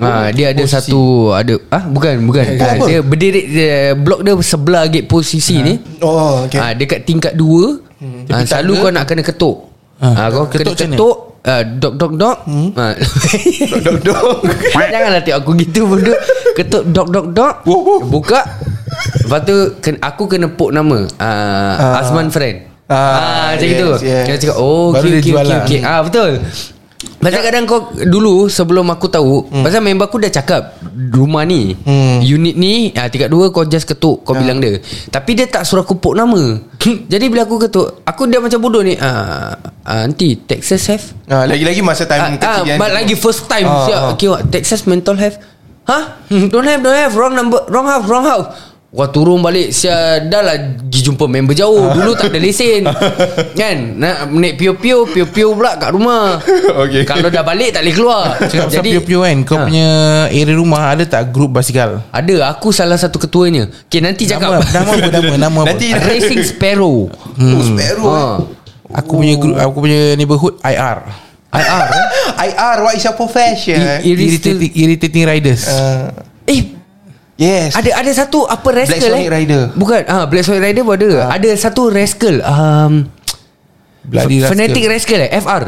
B: Oh,
C: Ha, dia ada satu ada ah bukan bukan ha,
B: Eh, apa?
C: dia berdiri dia, blok dia sebelah gate pos CC ni
B: Oh okay.
C: okay. ha, Dekat tingkat 2 ha, Selalu kau nak kena ketuk ha, Kau
F: Ketuk
C: ketuk
F: macam
C: kena ketuk Uh, dok dok dok hmm? ha.
B: Dok dok.
C: Janganlah tengok aku gitu bodoh Ketuk dok dok dok
B: Wow, wow.
C: Buka Lepas tu ken- Aku kena pok nama uh,
B: Ah.
C: Azman Friend Ah,
B: Ah,
C: macam yes,
B: yes,
C: itu
B: yes.
C: yes. Dia cakap Oh
F: Baru
C: okay,
F: dia
C: okay,
F: jual
C: okay,
F: lah.
C: okay. Ah, Betul Pasal kadang kau Dulu sebelum aku tahu Ya. hmm. Pasal member aku dah cakap Rumah ni hmm. Ya. Unit ni ah, Tingkat dua kau just ketuk Kau bilang dia Tapi dia tak suruh aku pok nama Jadi bila aku ketuk Aku dia macam bodoh ni ah, ah, Aunty Texas have
B: Ah, lagi-lagi masa time
C: Ah,
B: kecil
C: ah,
B: kan.
C: but lagi first time
B: Ah,
C: ah, siap,
B: ah.
C: Okay what Texas mental health Huh? Hmm, Don't have don't have Wrong number Wrong house Wrong house Wah turun balik Sia dah lah Pergi jumpa member jauh
F: Ah.
C: Dulu tak ada lesen Kan Nak naik pio-pio Pio-pio pula kat rumah
B: Okay.
C: Kalau dah balik tak boleh keluar
F: Cakap pasal
C: Jadi
F: piu-piu kan Kau
C: Ha.
F: punya area rumah Ada tak grup basikal
C: Ada aku salah satu ketuanya Okay nanti cakap
F: Nama, nama apa Nama, nama apa
B: Nanti
C: Racing Sparrow
B: Oh, Sparrow.
C: ha.
F: Aku punya group Aku punya neighborhood IR
C: IR eh?
B: IR what is your profession?
C: I- i-
F: Irritating, irritating Riders
B: Ah,
C: Eh
B: yes.
C: Ada ada satu apa rascal eh?
B: Sonic Rider.
C: Bukan. Ah Black Sonic Rider pun ada. Ada satu rascal. Um F-
F: Bloody rascal.
C: Fanatic Rascal eh FR.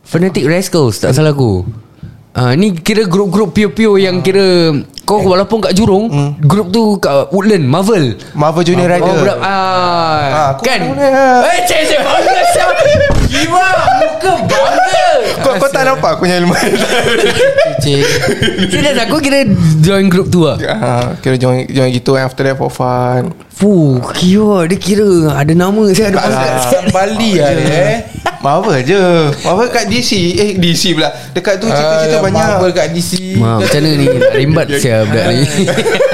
C: Fanatic Rascals tak salah aku. Ah ni kira grup-grup pio-pio yang kira
B: Eh.
C: kau walaupun kat Jurong, grup tu kat Woodland, Marvel.
B: Hmm. Marvel Junior
C: Oh,
B: Rider.
C: budak ah,
B: Ah, aku
C: kan.
B: tahu dah.
C: Eh, cek cek bangga siapa? Gila, muka bangga.
B: Kau, kau tak nampak aku punya ilmu
C: Cik. Serius aku kira join grup tu ah.
B: Ah, Kira join, join gitu kan After that for fun
C: Fuh, kira dia kira ada nama saya ada
B: Tak lah
C: pasal.
B: Kat Bali
F: Ya,
B: lah dia eh Marvel je Marvel kat DC Eh DC pula Dekat tu cerita-cerita
F: Ah,
B: banyak
F: Marvel kat DC
C: Ma, macam mana ni nak rimbat saya budak ni.
F: Nak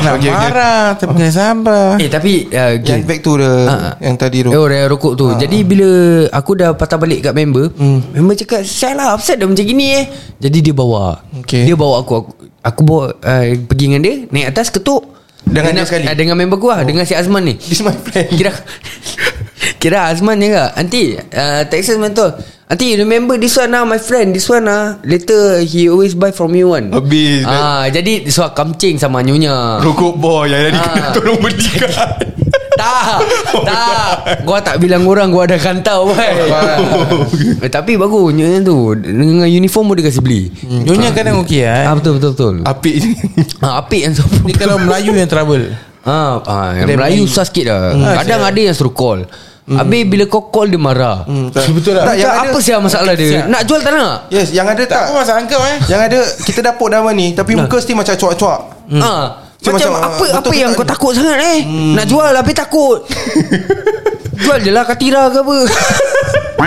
B: Okay, okay.
F: marah Tapi kena sabar
C: eh tapi uh,
B: Oh. Yang back to the
F: Ha,
C: Ah.
B: Yang tadi tu
C: Oh raya rokok tu Jadi bila Aku dah patah balik kat member hmm. Member cakap Sial lah upset dah macam gini eh Jadi dia bawa
B: Okay.
C: Dia bawa aku Aku, aku bawa uh, Pergi dengan dia Naik atas ketuk
B: Dengan
C: dengan,
B: dia sekali?
C: ah, Dengan member aku lah oh. Dengan si Azman ni
B: This my friend
C: Kira Kira Azman je ke Aunty uh, Texas mentor Aunty remember this one ah My friend This one ah Later he always buy from you one
B: Habis, eh.
C: ah, Jadi Suara kamcing sama nyonya
B: Rokok boy Yang tadi
C: Ah.
B: kena tolong kan. belikan
C: Tak Tak Gua tak bilang orang Gua ada kantau boy.
B: Oh.
C: eh, Tapi bagus Nyonya tu Dengan uniform pun dia kasi beli
B: Hmm.
F: Nyonya kadang okey
C: ah,
F: lah eh.
C: Betul betul betul
B: Apik je
C: ah, Apik yang sopan
F: Ni kalau Melayu yang trouble
C: Ah, ah yang Melayu susah sikit lah
B: Hmm.
C: Kadang ada yang suruh call Habis bila kau call dia marah
F: Betul
B: Hmm. tak,
F: lah
B: yang
C: Macam
B: ada-
C: apa sih masalah dia Nak jual tak nak
B: Yes yang ada tak,
F: Tak apa masalah kau eh
B: Yang ada Kita dapur nama ni Tapi muka still macam cuak-cuak
C: hmm. ah,
B: Macam-
C: Macam,
B: macam,
C: apa
B: ah,
C: apa
B: betul-
C: yang
B: betul-
C: kau takut sangat eh hmm. Nak jual habis takut Jual je lah katira ke apa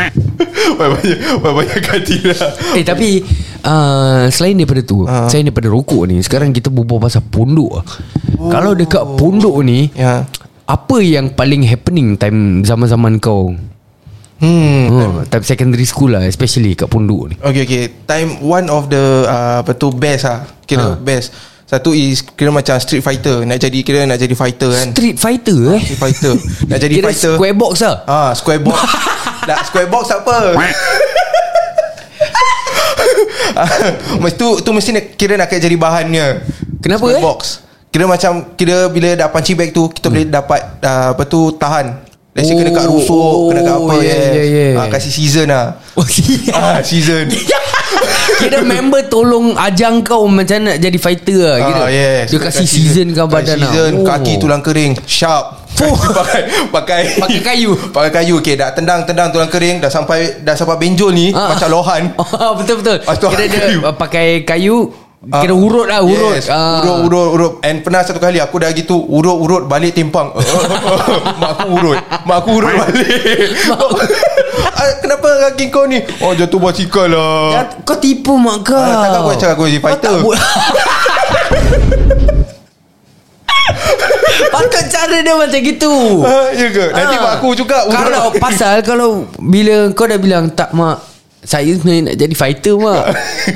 B: Banyak-banyak Banyak-banyak kati lah
C: Eh tapi uh, Selain daripada tu uh.
B: Ah.
C: Selain daripada rokok ni Sekarang kita berbual pasal pondok oh. Kalau dekat pondok ni
B: Ya.
C: Apa yang paling happening Time zaman-zaman kau
B: Hmm
C: hmm. Time secondary school lah Especially kat pondok ni
B: Okay okay Time one of the uh, Apa tu best lah
C: Ha.
B: Kira best Satu is Kira macam street fighter Nak jadi Kira nak jadi fighter kan
C: Street fighter eh
B: Street fighter Nak jadi
C: Kira
B: fighter
C: square box lah
B: Ah, square box. Nak square box apa? Mesti tu tu mesti nak, kira nak jadi bahannya.
C: Kenapa,
B: square
C: eh? Hmm.
B: box. Kira macam kira bila dah punching bag tu kita boleh dapat uh, apa tu tahan. Let's say kena kat
C: Oh,
B: rusuk, kena kat apa
C: yeah,
B: yes.
C: yeah, yeah.
B: Ah, kasih season lah.
C: Oh, siap.
B: ah, season.
C: Kira member tolong ajang kau Macam nak jadi fighter lah Kira
B: Ah, yes.
C: Dia kasi season kau badan lah
B: Season, kaki tulang kering, sharp. pakai pakai
C: Pakai kayu
B: pakai kayu okey dah tendang tendang tulang kering dah sampai dah sampai benjol ni
C: Ah.
B: macam lohan
C: oh, Betul betul
B: Ah, tu
C: Kira dia
B: kayu.
C: uh,
B: Ah.
C: pakai kayu Kira urut lah urut
B: Yes. Urut urut urut And pernah satu kali Aku dah gitu Urut urut balik timpang Mak aku urut Mak aku urut balik Ah, Kenapa kaki kau ni Oh jatuh basikal lah
C: Ya, Kau tipu mak kau
B: Ah, takkan aku cakap aku jadi
C: Kau
B: fighter.
C: tak bu- Patut cara dia macam gitu
B: Ah, Ya ke Nanti
C: Ah.
B: mak aku juga urut
C: Kalau pasal Kalau bila kau dah bilang Tak mak Saya sebenarnya nak jadi fighter mak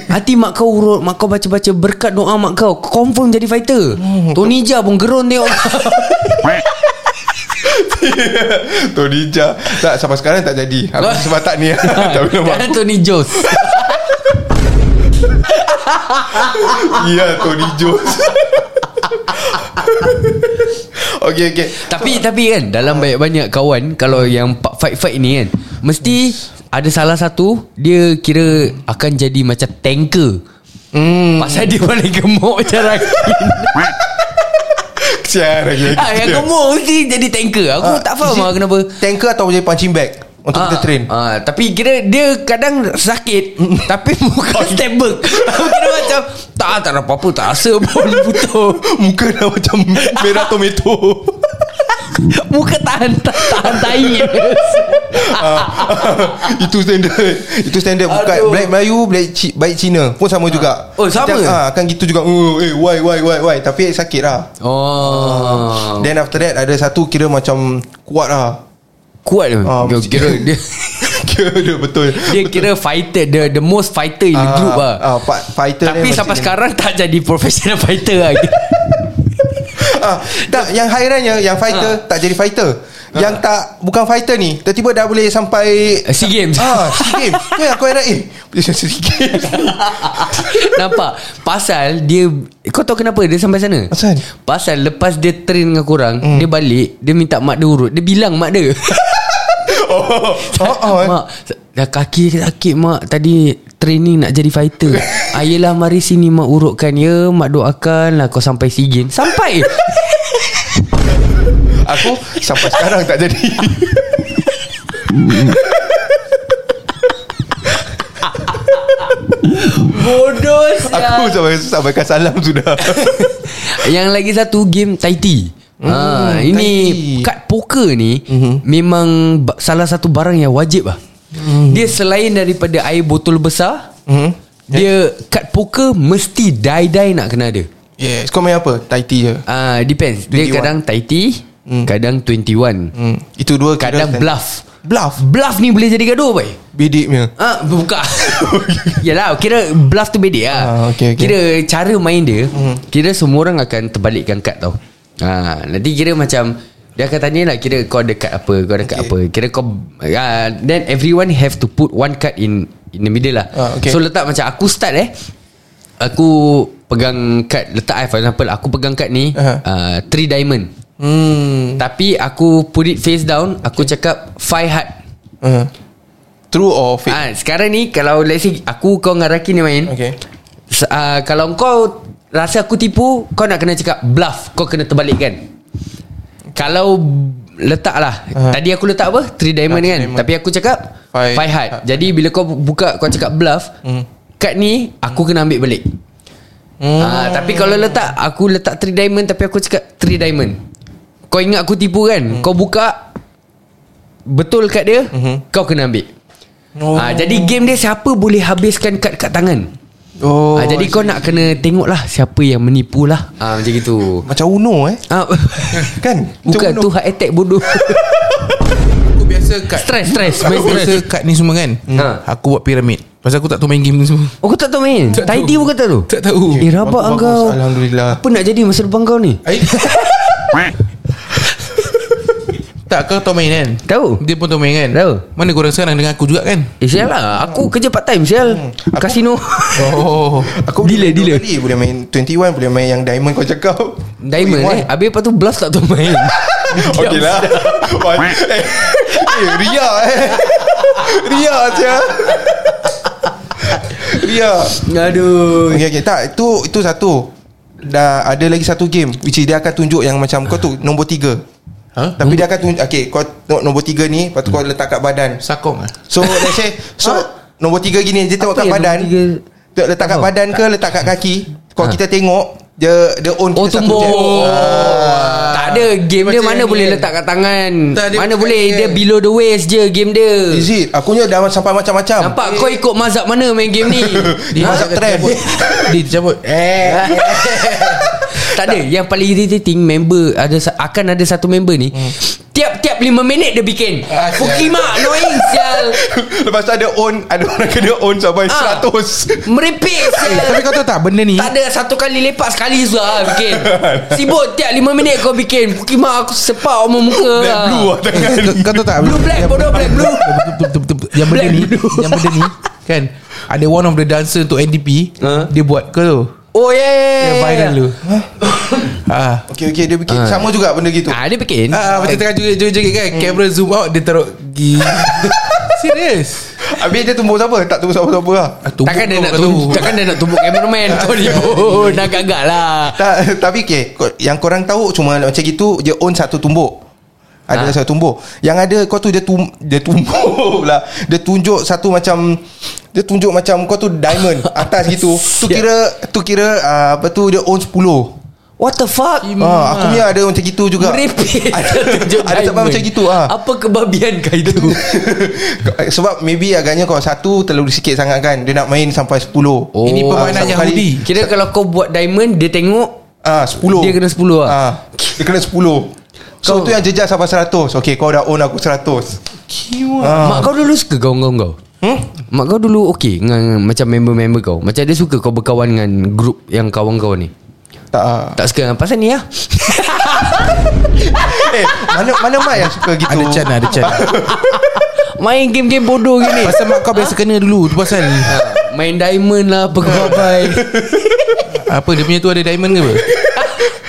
C: Hati mak kau urut Mak kau baca-baca Berkat doa mak kau Kau confirm jadi fighter
B: Hmm.
C: Tony Jaa pun gerun tengok
B: Tony Jaa Tak sampai sekarang tak jadi Aku
C: Lah.
B: sebab tak ni Tak boleh mak
C: Dan Tony Jos
B: Ya Tony Jones Okay okay
C: Tapi tapi kan Dalam banyak-banyak kawan Kalau yang pa- fight-fight ni kan Mesti Ada salah satu Dia kira Akan jadi macam tanker Hmm. Pasal dia paling gemuk macam Rakin
B: Sial lagi
C: Ah, yang gemuk mesti jadi tanker. Aku tak faham lah kenapa.
B: Tanker atau jadi punching bag Untuk kita train
C: ah, Tapi kira dia kadang sakit Tapi muka stable Kira macam Tak tak ada apa-apa Tak rasa pun putus
B: Muka dah lah macam Merah tomato
C: Muka tahan Tahan tahi
B: Ah. Itu standard Itu standard Bukan
C: Aduh.
B: Black Melayu Black Ci, Baik Cina Pun sama juga
C: Oh, sama?
B: Kita, ah, Kan gitu juga oh, Eh why why why why Tapi sakit lah
C: Oh.
B: Then after that Ada satu kira macam Kuat lah
C: Kuat tu.
B: Ah,
C: dia kira dia
B: Kira dia betul
C: dia kira fighter the the most fighter in the
B: Ah,
C: group ah.
B: ah, pa- fighter
C: Tapi
B: dia
C: sampai
B: macam-
C: sekarang tak jadi professional fighter lah.
B: ah, tak, yang hairannya Yang fighter
C: Ah.
B: Tak jadi fighter Yang tak Bukan fighter ni Tiba-tiba dah boleh sampai
C: Eh, SEA Games.
B: Ah, SEA Games Tu yang aku heran Eh boleh sampai SEA Games
C: Nampak? Pasal dia kau tahu kenapa dia sampai sana?
B: Pasal? Hmm.
C: Pasal lepas dia train dengan korang, dia balik, dia minta mak dia urut. Dia bilang mak dia.
B: Oh, oh, eh.
C: mak, dah kaki sakit mak tadi training nak jadi fighter. Ayolah mari sini mak urutkan ya, mak doakan lah kau sampai SEA Games. Sampai.
B: Aku sampai sekarang tak jadi
C: Bodoh
B: Aku sampai, sampai kan salam sudah
C: Yang lagi satu game Taiti. Hmm, ha, ini
B: Taiti.
C: kad poker ni mm-hmm. memang ba- salah satu barang yang wajib lah. Mm. Dia selain daripada air botol besar, mm. dia kad poker mesti die-die nak kena ada.
B: Yes Kau Ya, main apa? Tai tea je
C: Ah, uh, depends. Dia
B: 21.
C: kadang Taiti, mm. kadang 21, mm.
B: hmm. Itu dua kira
C: kadang
B: stand-
C: bluff.
B: Bluff
C: Bluff ni boleh jadi gaduh bai.
B: Bidik punya
C: Ah, buka. Yalah, kira bluff tu bedek lah.
B: Ah, okey, Hmm. okey.
C: Kira cara main dia, mm. kira semua orang akan terbalikkan kad tau. Ha, nanti kira macam dia akan tanya lah kira kau ada kad apa, kau ada kad apa. Kira kau uh, then everyone have to put one card in in the middle lah.
B: Ah, okey.
C: So letak macam aku start eh. Aku pegang kad letak I for example aku pegang kad ni
B: Aha.
C: uh-huh. uh, three diamond. Hmm. Tapi aku put it face down, aku cakap five heart.
B: uh. True or fake?
C: Ah, sekarang ni kalau let's say aku kau dengan Raki ni main.
B: Okay
C: S- ah, kalau kau rasa aku tipu, kau nak kena cakap bluff. Kau kena terbalikkan. Kalau letaklah. Uh-huh. Tadi aku letak apa? Three diamond
B: Ah,
C: kan.
B: diamond.
C: Tapi aku cakap
B: Five Ah. Hmm.
C: five, five heart.
B: heart.
C: Jadi bila kau buka kau cakap bluff, mm. kad ni aku kena ambil balik.
B: Hmm.
C: Mm. Ah, tapi kalau letak aku letak three diamond tapi aku cakap three diamond. Kau ingat aku tipu
B: Hmm.
C: kan? Mm. Kau buka betul kad dia,
B: Hmm.
C: mm-hmm. kau kena ambil. Oh. Ah, jadi game dia siapa boleh habiskan kad kat tangan. Oh,
B: Oh
C: ah, jadi kau nak kena tengok lah siapa yang menipu lah. Ah, macam gitu.
B: Macam Uno eh
C: Ah,
B: Kan Macam
C: bukan
B: Uno.
C: tu heart attack bodoh.
F: Aku biasa kat
C: stress, stress, main
F: Aku biasa
C: stress.
F: kat ni semua kan
C: Ha.
F: Aku buat piramid Pasal aku tak tahu main game ni semua
C: Oh, kau tak tahu main?
F: Tak
C: Taiti
F: tahu.
C: pun kata tu?
F: Tak tahu.
C: Eh, rabak
B: Bagus,
C: engkau.
B: Alhamdulillah.
C: Apa nak jadi masa depan kau ni?
F: Ai- Tak kau tahu main kan
C: Tahu.
F: Dia pun tahu main kan
C: Tahu.
F: Mana korang sekarang dengan aku juga kan
C: Eh, sial lah. Aku kerja part time, sial. Kasino.
F: Oh
B: Aku
C: Dealer,
B: boleh main dua
C: dealer.
B: kali Boleh main 21 Boleh main yang diamond kau cakap
C: Diamond eh. Habis lepas tu bluff tak tahu main.
B: Okay lah Eh eh, Ria eh Ria je Ria
C: Aduh.
B: Okay okay Tak itu, itu satu Dah ada lagi satu game Which is dia akan tunjuk Yang macam kau tu Nombor tiga
F: Huh?
B: Tapi dia akan tunjuk Okay kau tengok nombor tiga ni Lepas tu kau letak kat badan
F: Sakong ah.
B: So let's say So nombor tiga gini Dia tengok
C: Apa
B: kat
C: yang
B: badan
C: nombor tiga?
B: Tengok letak kat
C: Apa?
B: badan ke Letak kat kaki Kalau
C: Ha.
B: kita tengok Dia dia own
C: Oh
B: kita satu Ah.
C: tumbuk
B: jab.
C: Tak ada Game dia
F: Ah. Macam
C: mana
F: yang
C: boleh
F: ni.
C: letak kat tangan
F: Tak, dia
C: Mana
F: bukan
C: boleh
F: ni
C: Dia
F: kan.
C: below the waist je Game dia
B: Is it? Akunya dah sampai macam-macam
C: Nampak kau ikut mazhab mana main game ni Ha?
B: Dia mazhab trend.
F: Dia tercabut Eh
C: Tak ada Yang paling irritating Member ada sa- Akan ada satu member ni Tiap-tiap 5 minit dia bikin
F: Hmm. Ah,
C: Pukimak Annoying sial
B: Lepas tu ada own Ada orang kena own sampai
C: Ah.
B: 100
C: Merepek sial
F: Eh, Tapi kau tahu tak benda ni
C: Tak ada satu kali lepak Sekali sudah bikin Sibuk tiap 5 minit kau bikin Pukimak aku sepak Omong muka
B: Black blue lah tangan
F: Eh, Kau- Kau tahu tak
C: Blue black bodoh black blue
F: Yang benda
C: Black
F: ni
C: blue.
F: Yang benda ni Kan Ada one of the dancer Untuk NDP
C: Ha?
F: Dia buat Kau tahu
C: Oh yeah, yeah, yeah,
F: Yang
C: yeah.
F: viral tu Ha? Ah,
B: Okay okay dia bikin Sama juga benda gitu
C: Ah, dia bikin. Hmm.
F: ah, Macam tengah joget-joget kan Kamera zoom out Dia taruh gigi Serius
B: Habis dia tumbuh siapa? Tak tumbuh siapa-siapa lah
F: Ah,
C: Takkan dia
F: kau
C: nak
F: kat
C: tumbuk Takkan dia nak tumbuk cameraman Kau ni pun Dah gagal lah
B: tak, Tapi okay ko- Yang korang tahu Cuma macam gitu Dia own satu tumbuk
C: Ah.
B: Ada satu tumbuk Yang ada kau tu Dia, tum, dia tumbuk lah Dia tunjuk satu macam Dia tunjuk macam Kau tu diamond Atas gitu Tu
C: Ya.
B: kira Tu kira uh, Apa tu Dia own 10
C: What the fuck
B: Ah, aku punya ada macam gitu juga.
C: Hmm. Merepek
B: Ada
C: Tunjuk
B: ada sebab
C: diamond.
B: macam gitu ah.
C: Apa kebabian kau itu
B: Sebab maybe agaknya kalau satu terlalu sikit sangat kan. Dia nak main sampai 10. Oh,
F: Ini permainan
B: satu
F: Yahudi.
C: Kira kalau kau buat diamond Dia tengok
B: Ah, 10.
C: Dia kena 10 lah.
B: Ah, dia kena 10. So
C: Kau-
B: tu yang jejas sampai 100. Okey, kau dah own aku 100.
C: Ah. Mak kau dulu suka kawan-kawan kau? Hmm? Mak kau dulu okey dengan, dengan macam member-member kau. Macam dia suka kau berkawan dengan grup yang kawan kau ni.
B: Tak. ah.
C: Tak suka pasal ni lah.
B: eh, mana mana mak yang suka gitu?
F: Ada can Ada can
C: Main game-game bodoh gini.
F: Pasal mak kau biasa kena dulu Tu pasal
C: Main diamond lah apa kau papai.
F: Apa dia punya tu ada diamond ke apa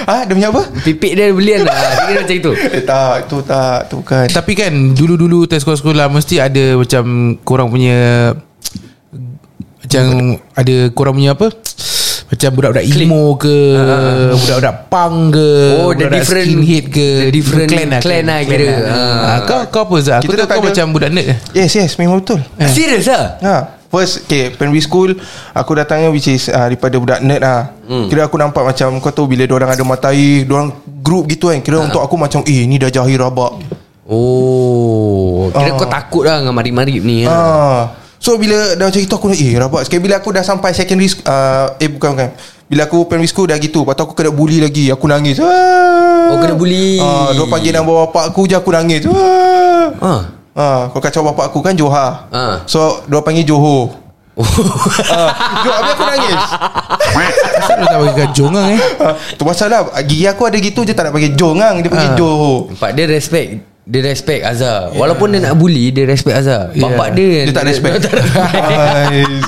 B: Ah, dia punya apa?
C: Pipik dia belian lah. Dia kira macam itu.
B: Eh, tak, tu tak, tu bukan.
F: Tapi kan Dulu-dulu test sekolah-sekolah Mesti ada macam Korang punya Macam Ada korang punya apa Macam budak-budak emo ke Budak-budak punk ke
C: Ah, Oh, the
F: budak-budak
C: different-
F: skinhead ke
C: the different clan lah kira.
F: Ah, Kau kau apa Zah Aku
B: Kita
F: tahu
B: tak
F: kau
B: ada-
F: macam budak nerd
B: Yes, yes, memang betul.
C: Serius lah?
B: Ha, first okay, primary school aku datangnya which is uh, daripada budak nerd ah. Hmm. Kira aku nampak macam kau tahu bila orang ada matai, orang group gitu kan. Kira untuk aku macam eh ni dah jahil rabak.
C: Oh. Kira
B: Ah.
C: kau takut lah dengan marib-marib ni.
B: Ha.
C: Ha.
B: So bila dah macam itu aku eh rabak sikit bila aku dah sampai secondary sch- uh, eh bukan bukan. Bila aku primary school dah gitu, lepas tu aku kena bully lagi. Aku nangis. Ah.
C: Oh, kena bully.
B: Ah, dia panggil nama bapak aku je aku nangis. Ah.
C: Ha.
B: Ha, kalau kacau bapak aku kan Johar.
C: Ah. Oh.
B: So, dia panggil Johor. Ah, Johor, habis aku nangis.
F: Kenapa lu tak bagi kajong kan eh
B: Ah, tu pasal lah Gigi aku ada gitu je Tak nak panggil Jongang Dia
C: Ah.
B: panggil Johor
C: Nampak dia respect dia respect Azhar yeah. Walaupun dia nak bully Dia respect Azhar yeah. Bapak Eh, dia
B: Dia tak respect Ah,
C: tak respect.
B: Guys.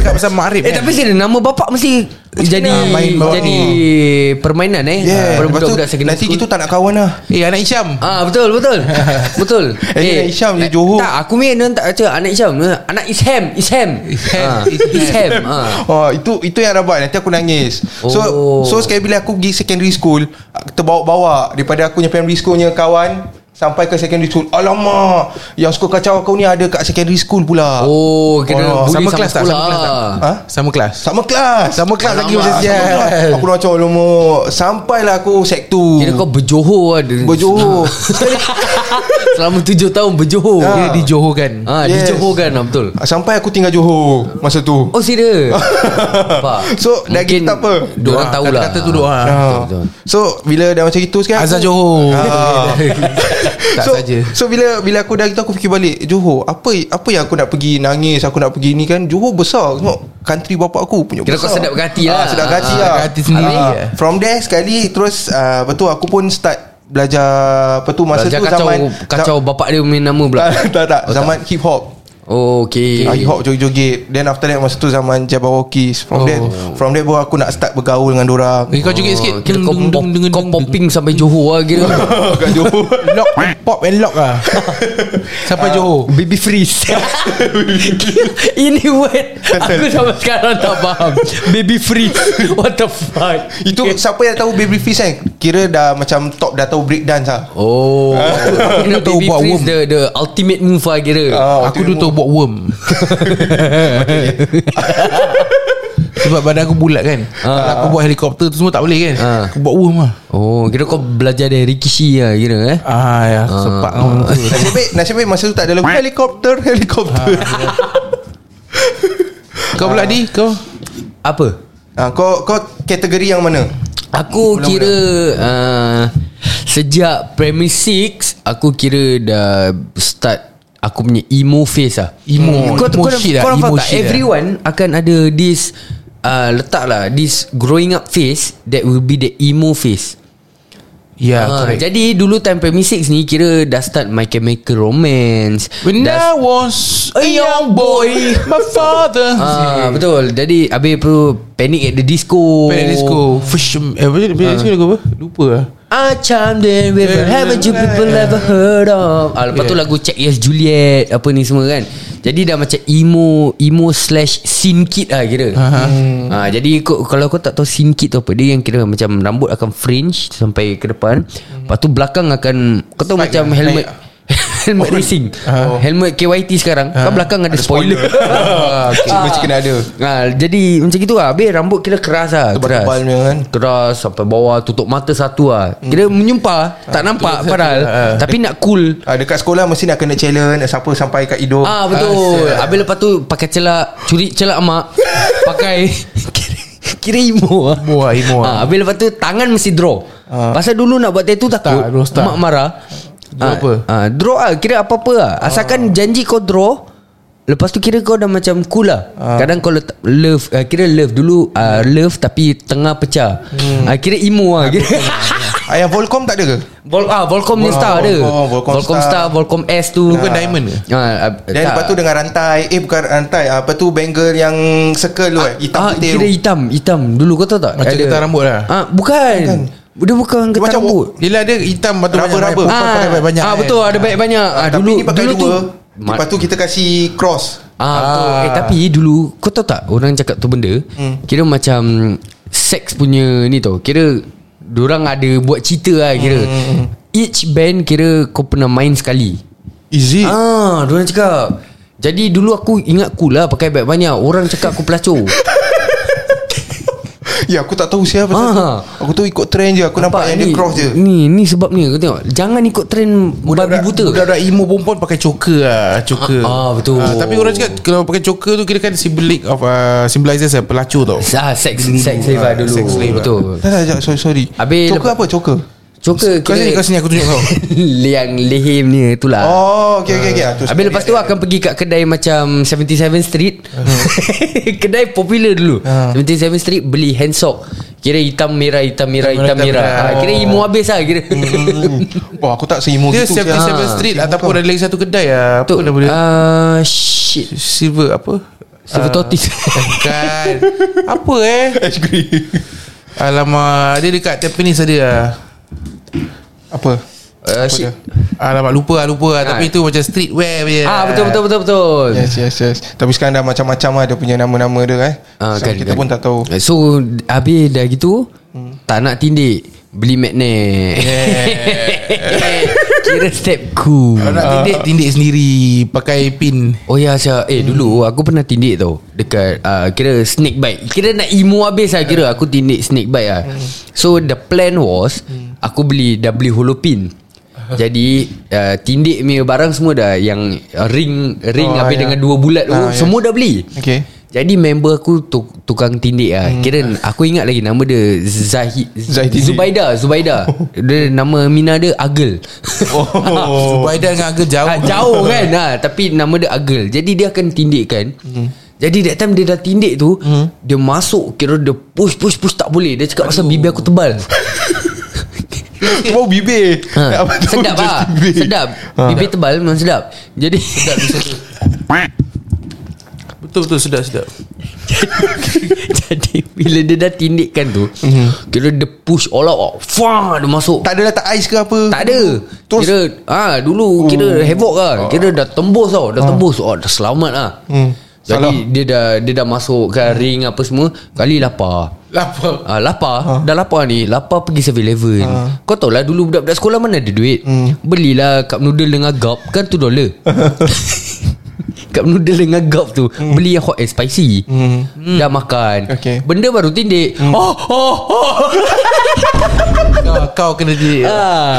F: Cakap pasal makrif
C: Eh tapi serius Nama bapak mesti Jadi
B: Ah, main bapak
C: Jadi Permainan eh Pada
B: Yeah Lepas tu
C: budak-budak secondary
B: Nanti
C: school.
B: gitu tak nak kawan lah
F: Eh anak Isyam
C: Ah betul betul. betul.
B: Eh, Isham je
C: eh,
B: Johor.
C: Tak, aku main dia tak kata anak Isham. Anak Isham, Isham. Ah, Isham. Ah.
B: Oh, itu itu yang rabat Nanti aku nangis So
C: Oh.
B: so sekali bila aku pergi secondary school Kita bawa-bawa Daripada aku punya primary school punya kawan Sampai ke secondary school Alamak Yang suka kacau kau ni ada kat secondary school pula
C: Oh, kira
B: Oh,
C: bully
F: sama
C: sama,
F: kelas tak?
C: sekolah.
F: Sama kelas tak?
B: Ha?
F: Sama kelas
B: Sama kelas
F: Sama kelas lagi
B: Alamak,
F: macam
B: sama
F: sial.
B: kelas. Aku dah macam Alamak Sampailah aku sek 2
C: Kira kau berjohor lah dia.
B: Berjohor
C: Selama tujuh tahun berjohor
B: Ah.
F: Dia di Johor kan
C: Ah,
B: Yes.
C: dia Johor kan ah, Betul
B: Sampai aku tinggal Johor Masa tu
C: Oh serius Nampak?
B: So, dah
C: Mungkin
B: gitu tak apa.
C: Diorang
F: Ah,
C: tahulah
F: kata-kata tu doa.
B: Ah.
C: lah. Betul, betul.
B: So bila dah macam itu sekarang
F: Azhar
B: aku-
F: Johor.
B: Ah.
F: Tak
B: so,
F: saja.
B: So bila bila aku dah gitu aku fikir balik Johor apa apa yang aku nak pergi nangis aku nak pergi ni kan Johor besar tengok country bapak aku punya
C: Kira kau
B: besar.
C: sedap hati lah.
B: Ah, sedap hati
C: Ah,
B: lah.
F: sedap hati sendiri.
B: Ah, From there sekali terus ah, apa tu aku pun start belajar apa tu masa
C: Belajar
B: tu
C: kacau
B: zaman
C: Kacau bapak dia punya nama pula
B: tak tak, tak
C: Oh, tak.
B: zaman hip hop
C: Oh okay
B: Okay. Hip hop joget-joget Then after that Masa tu zaman Jabawokis From oh. that From that baru aku nak start Bergaul dengan dorang
F: Eh, Kau joget
C: Oh,
F: sikit
C: Kira kau,
F: Dung, dung,
C: pop-
F: dung, dung,
C: kau
F: dung.
C: popping sampai Johor lah Kira
B: Kat Johor
F: Lock and pop and lock lah Sampai Johor
C: Baby freeze Ini word Aku sampai sekarang tak faham Baby freeze What the fuck
B: Itu siapa yang tahu Baby Fizz kan Kira dah macam Top dah tahu break dance lah
C: Oh Aku
F: Dia
C: nak
F: tahu
C: baby
F: buat
C: freeze
F: worm.
C: the, the ultimate move lah kira
B: Ah,
F: Aku dulu tahu buat worm Sebab badan aku bulat kan Kalau Aku buat helikopter tu semua tak boleh kan
C: Ah.
F: Aku buat worm lah
C: Oh kira kau belajar dari Rikishi lah kira eh
F: Ah ya Sepak kau tu
B: Nasib baik Nasib baik masa tu tak ada lagu Helikopter Helikopter
C: Ah.
F: Kau pula di Kau
C: Apa
B: ha, Kau kau kategori yang mana
C: Aku kira uh, Sejak primary 6 Aku kira dah start Aku punya emo phase lah
F: Emo,
C: Kau,
F: emo
C: kau,
F: shit lah,
C: kau nampak
F: emo
C: tak
F: shit lah.
C: Everyone akan ada this uh, Letaklah This growing up phase That will be the emo phase
F: Ya
C: Ah,
F: correct
C: Jadi dulu time primary 6 ni Kira dah start My Chemical Romance
F: When
C: dah
F: I was
C: A
F: a young
C: young
F: boy My father
C: Ah betul. Jadi habis tu Panic at the Disco. Oh. Ah.
F: Panic Disco Fashion Eh apa dia Panic Disco lagu apa Lupa lah
C: I chimed in with her Haven't you people ever heard of ah, Lepas tu lagu Check Yes Juliet Apa ni semua kan Jadi dah macam emo Emo slash scene kid lah kira uh-huh. ah, Jadi kau, kalau kau tak tahu scene kid tu apa Dia yang kira macam Rambut akan fringe Sampai ke depan Lepas tu belakang akan Kau tahu macam helmet Helmet racing Helmet KYT sekarang Kan belakang ada, spoiler, Ah,
B: okay. Mesti kena ada
C: Ha, jadi macam gitu lah Habis rambut kira keras lah Keras
B: Tebal-tebal punya kan?
C: Keras sampai bawah Tutup mata satu lah Kira
F: Hmm.
C: menyumpah
F: Ah,
C: Tak nampak padahal Tapi nak cool
B: Ah, dekat sekolah mesti nak kena challenge Siapa sampai kat hidung
F: Oh.
C: Ah betul Habis lepas tu Pakai celak Curi celak mak Pakai kira- Kira emo lah
F: Emo lah, emo lah. Ah.
C: Ah, Habis lepas tu Tangan mesti draw Pasal dulu nak buat tattoo takut
F: dulu start.
C: Mak marah
F: Draw
C: Ah,
F: apa? Ah.
C: ah, Draw lah Kira apa-apa lah Asalkan janji kau draw Lepas tu kira kau dah macam cool lah
F: Ah.
C: Kadang kau letak love ah, Kira love dulu ah, Love tapi tengah pecah
F: Hmm.
C: Ah, Kira emo lah kira.
B: Ayah Ah, Volcom tak ada ke?
C: Vol, ah, Volcom ni star ada
B: Volcom, Volcom
C: Volcom
B: star.
C: star Volcom S tu
F: Bukan diamond ke?
C: ah, ah, tak.
B: Dan lepas tu dengan rantai Eh bukan rantai ah, Lepas tu bangle yang circle tu eh Hitam
C: ah,
B: putih
C: Kira
B: tu.
C: hitam Hitam Dulu kau tahu tak
F: Macam
C: Ada-
F: getah rambut lah.
C: ah, Bukan, Dia bukan
B: Dia
C: getah
B: macam
C: rambut
F: Yelah dia hitam Batu
B: Rubber, rubber.
F: banyak,
C: ah,
F: pakai banyak
C: ah, Betul ada banyak-banyak ah,
B: eh. Tapi
C: Dulu
B: ni pakai
C: dulu
B: dua
C: tu
B: Lepas tu kita kasih cross
C: Ah, betul. Eh tapi dulu kau tahu tak orang cakap tu benda hmm. kira macam seks punya ni tau. Kira orang ada buat cerita lah kira. Hmm. Each band kira kau pernah main sekali.
F: Is it?
C: Ah, orang cakap. Jadi dulu aku ingat cool lah pakai beg banyak. Orang cakap aku pelacur.
B: Ya aku tak tahu siapa
C: Ah.
B: pasal tu Aku tu ikut trend je Aku nampak, yang
C: ni,
B: dia cross je
C: Ni ni sebab ni kau tengok. Jangan ikut trend babi Ah, buta.
F: Budak-budak emo perempuan pakai choker lah Choker
C: Ah, ah, betul.
F: Ah, Tapi orang cakap Kalau pakai choker tu Kira kan symbolic of uh, Symbolizes a pelacur tau
C: Ah, sex sex slave lah dulu.
F: sex slave lah.
C: Betul.
B: Tak tak jap, sorry sorry
C: Habis Eh,
B: Choker
C: lepas-
B: apa choker?
C: Choker
F: Kau sini kau sini aku tunjuk kau
C: Yang lehim ni tu lah
B: Oh okay okay, okay. Ah, tu
C: Habis lepas tu akan pergi kat kedai macam 77 Street Kedai popular dulu 77 Street beli hand sock Kira hitam merah Hitam merah Hitam, merah, Ha, Kira emo habis lah Kira
B: Mm-hmm. Hmm. Wah aku tak seimo
F: Dia
B: gitu siap.
F: 77 Street Ataupun ada lagi satu kedai lah Apa
C: Untuk
F: nama dia
C: uh, Shit
F: Silver apa
C: Silver tortoise Uh,
F: Bukan Apa eh Alamak Dia dekat Tampines ada lah
B: Apa?
C: uh, Shit
F: Alamak lupa lah lupa lah
C: Ah.
F: Tapi tu macam street wear punya
C: Ah betul betul betul betul.
B: Yes yes yes Tapi sekarang dah macam-macam lah Dia punya nama-nama dia eh
C: Ah,
B: so, Kita pun tak tahu
C: So habis dah gitu hmm. tak nak tindik beli magnet. Yeah. Kira step cool. Ah.
F: Kalau nak tindik Tindik sendiri Pakai pin
C: Oh ya Syah Eh
B: Hmm.
C: dulu aku pernah tindik tau Dekat uh, Kira snake bite Kira nak emo habis lah
B: Hmm.
C: Kira aku tindik snake bite lah So the plan was
B: Hmm.
C: Aku beli Dah beli holopin Jadi uh, Tindik punya barang semua dah Yang uh, ring Ring
B: Oh,
C: oh, habis
B: ya.
C: dengan dua bulat tu
B: Ah, ya.
C: Semua dah beli
B: Okay.
C: Jadi member aku tu, Tukang tindik lah Kira aku ingat lagi Nama dia Zahid
B: Zahid.
C: Zubaida Zubaida dia, Nama Mina dia Agel
F: Oh Biden dengan harga jauh
C: Ah, jauh kan ha, Tapi nama dia Agel Jadi dia akan tindikkan hmm. Jadi that time dia dah tindik tu hmm. Dia masuk Kira dia push push push tak boleh Dia cakap pasal bibir aku tebal
B: Mau bibir
C: ha.
B: Apa tu?
C: Sedap
B: Just
C: lah
B: bibir.
C: Sedap Bibir tebal memang sedap Jadi
F: Betul betul sedap sedap
C: Jadi bila dia dah tindikkan tu Kira dia push all out Oh, Fah dia masuk
B: Mhm. Tak ada letak ais ke apa
C: Tak ada
B: Terus Oh.
C: Kira ah Dulu kira havoc lah Kira dah tembus tau Dah tembus oh, Dah selamat lah
B: Ah. Hmm.
C: Jadi
B: Salah.
C: dia dah Dia dah masuk kan ring apa semua Kali lapar
F: Lapar
C: Ah, lapar Dah lapar ni Lapar pergi 7-Eleven Kau tahu lah Dulu budak-budak sekolah Mana ada duit Belilah cup noodle dengan gap Kan tu dollar Cup noodle dengan gap tu Beli yang hot and spicy Hmm. Dah makan
B: Okay.
C: Benda baru tindik Oh oh oh
F: Kau, kau kena dia
C: Ah,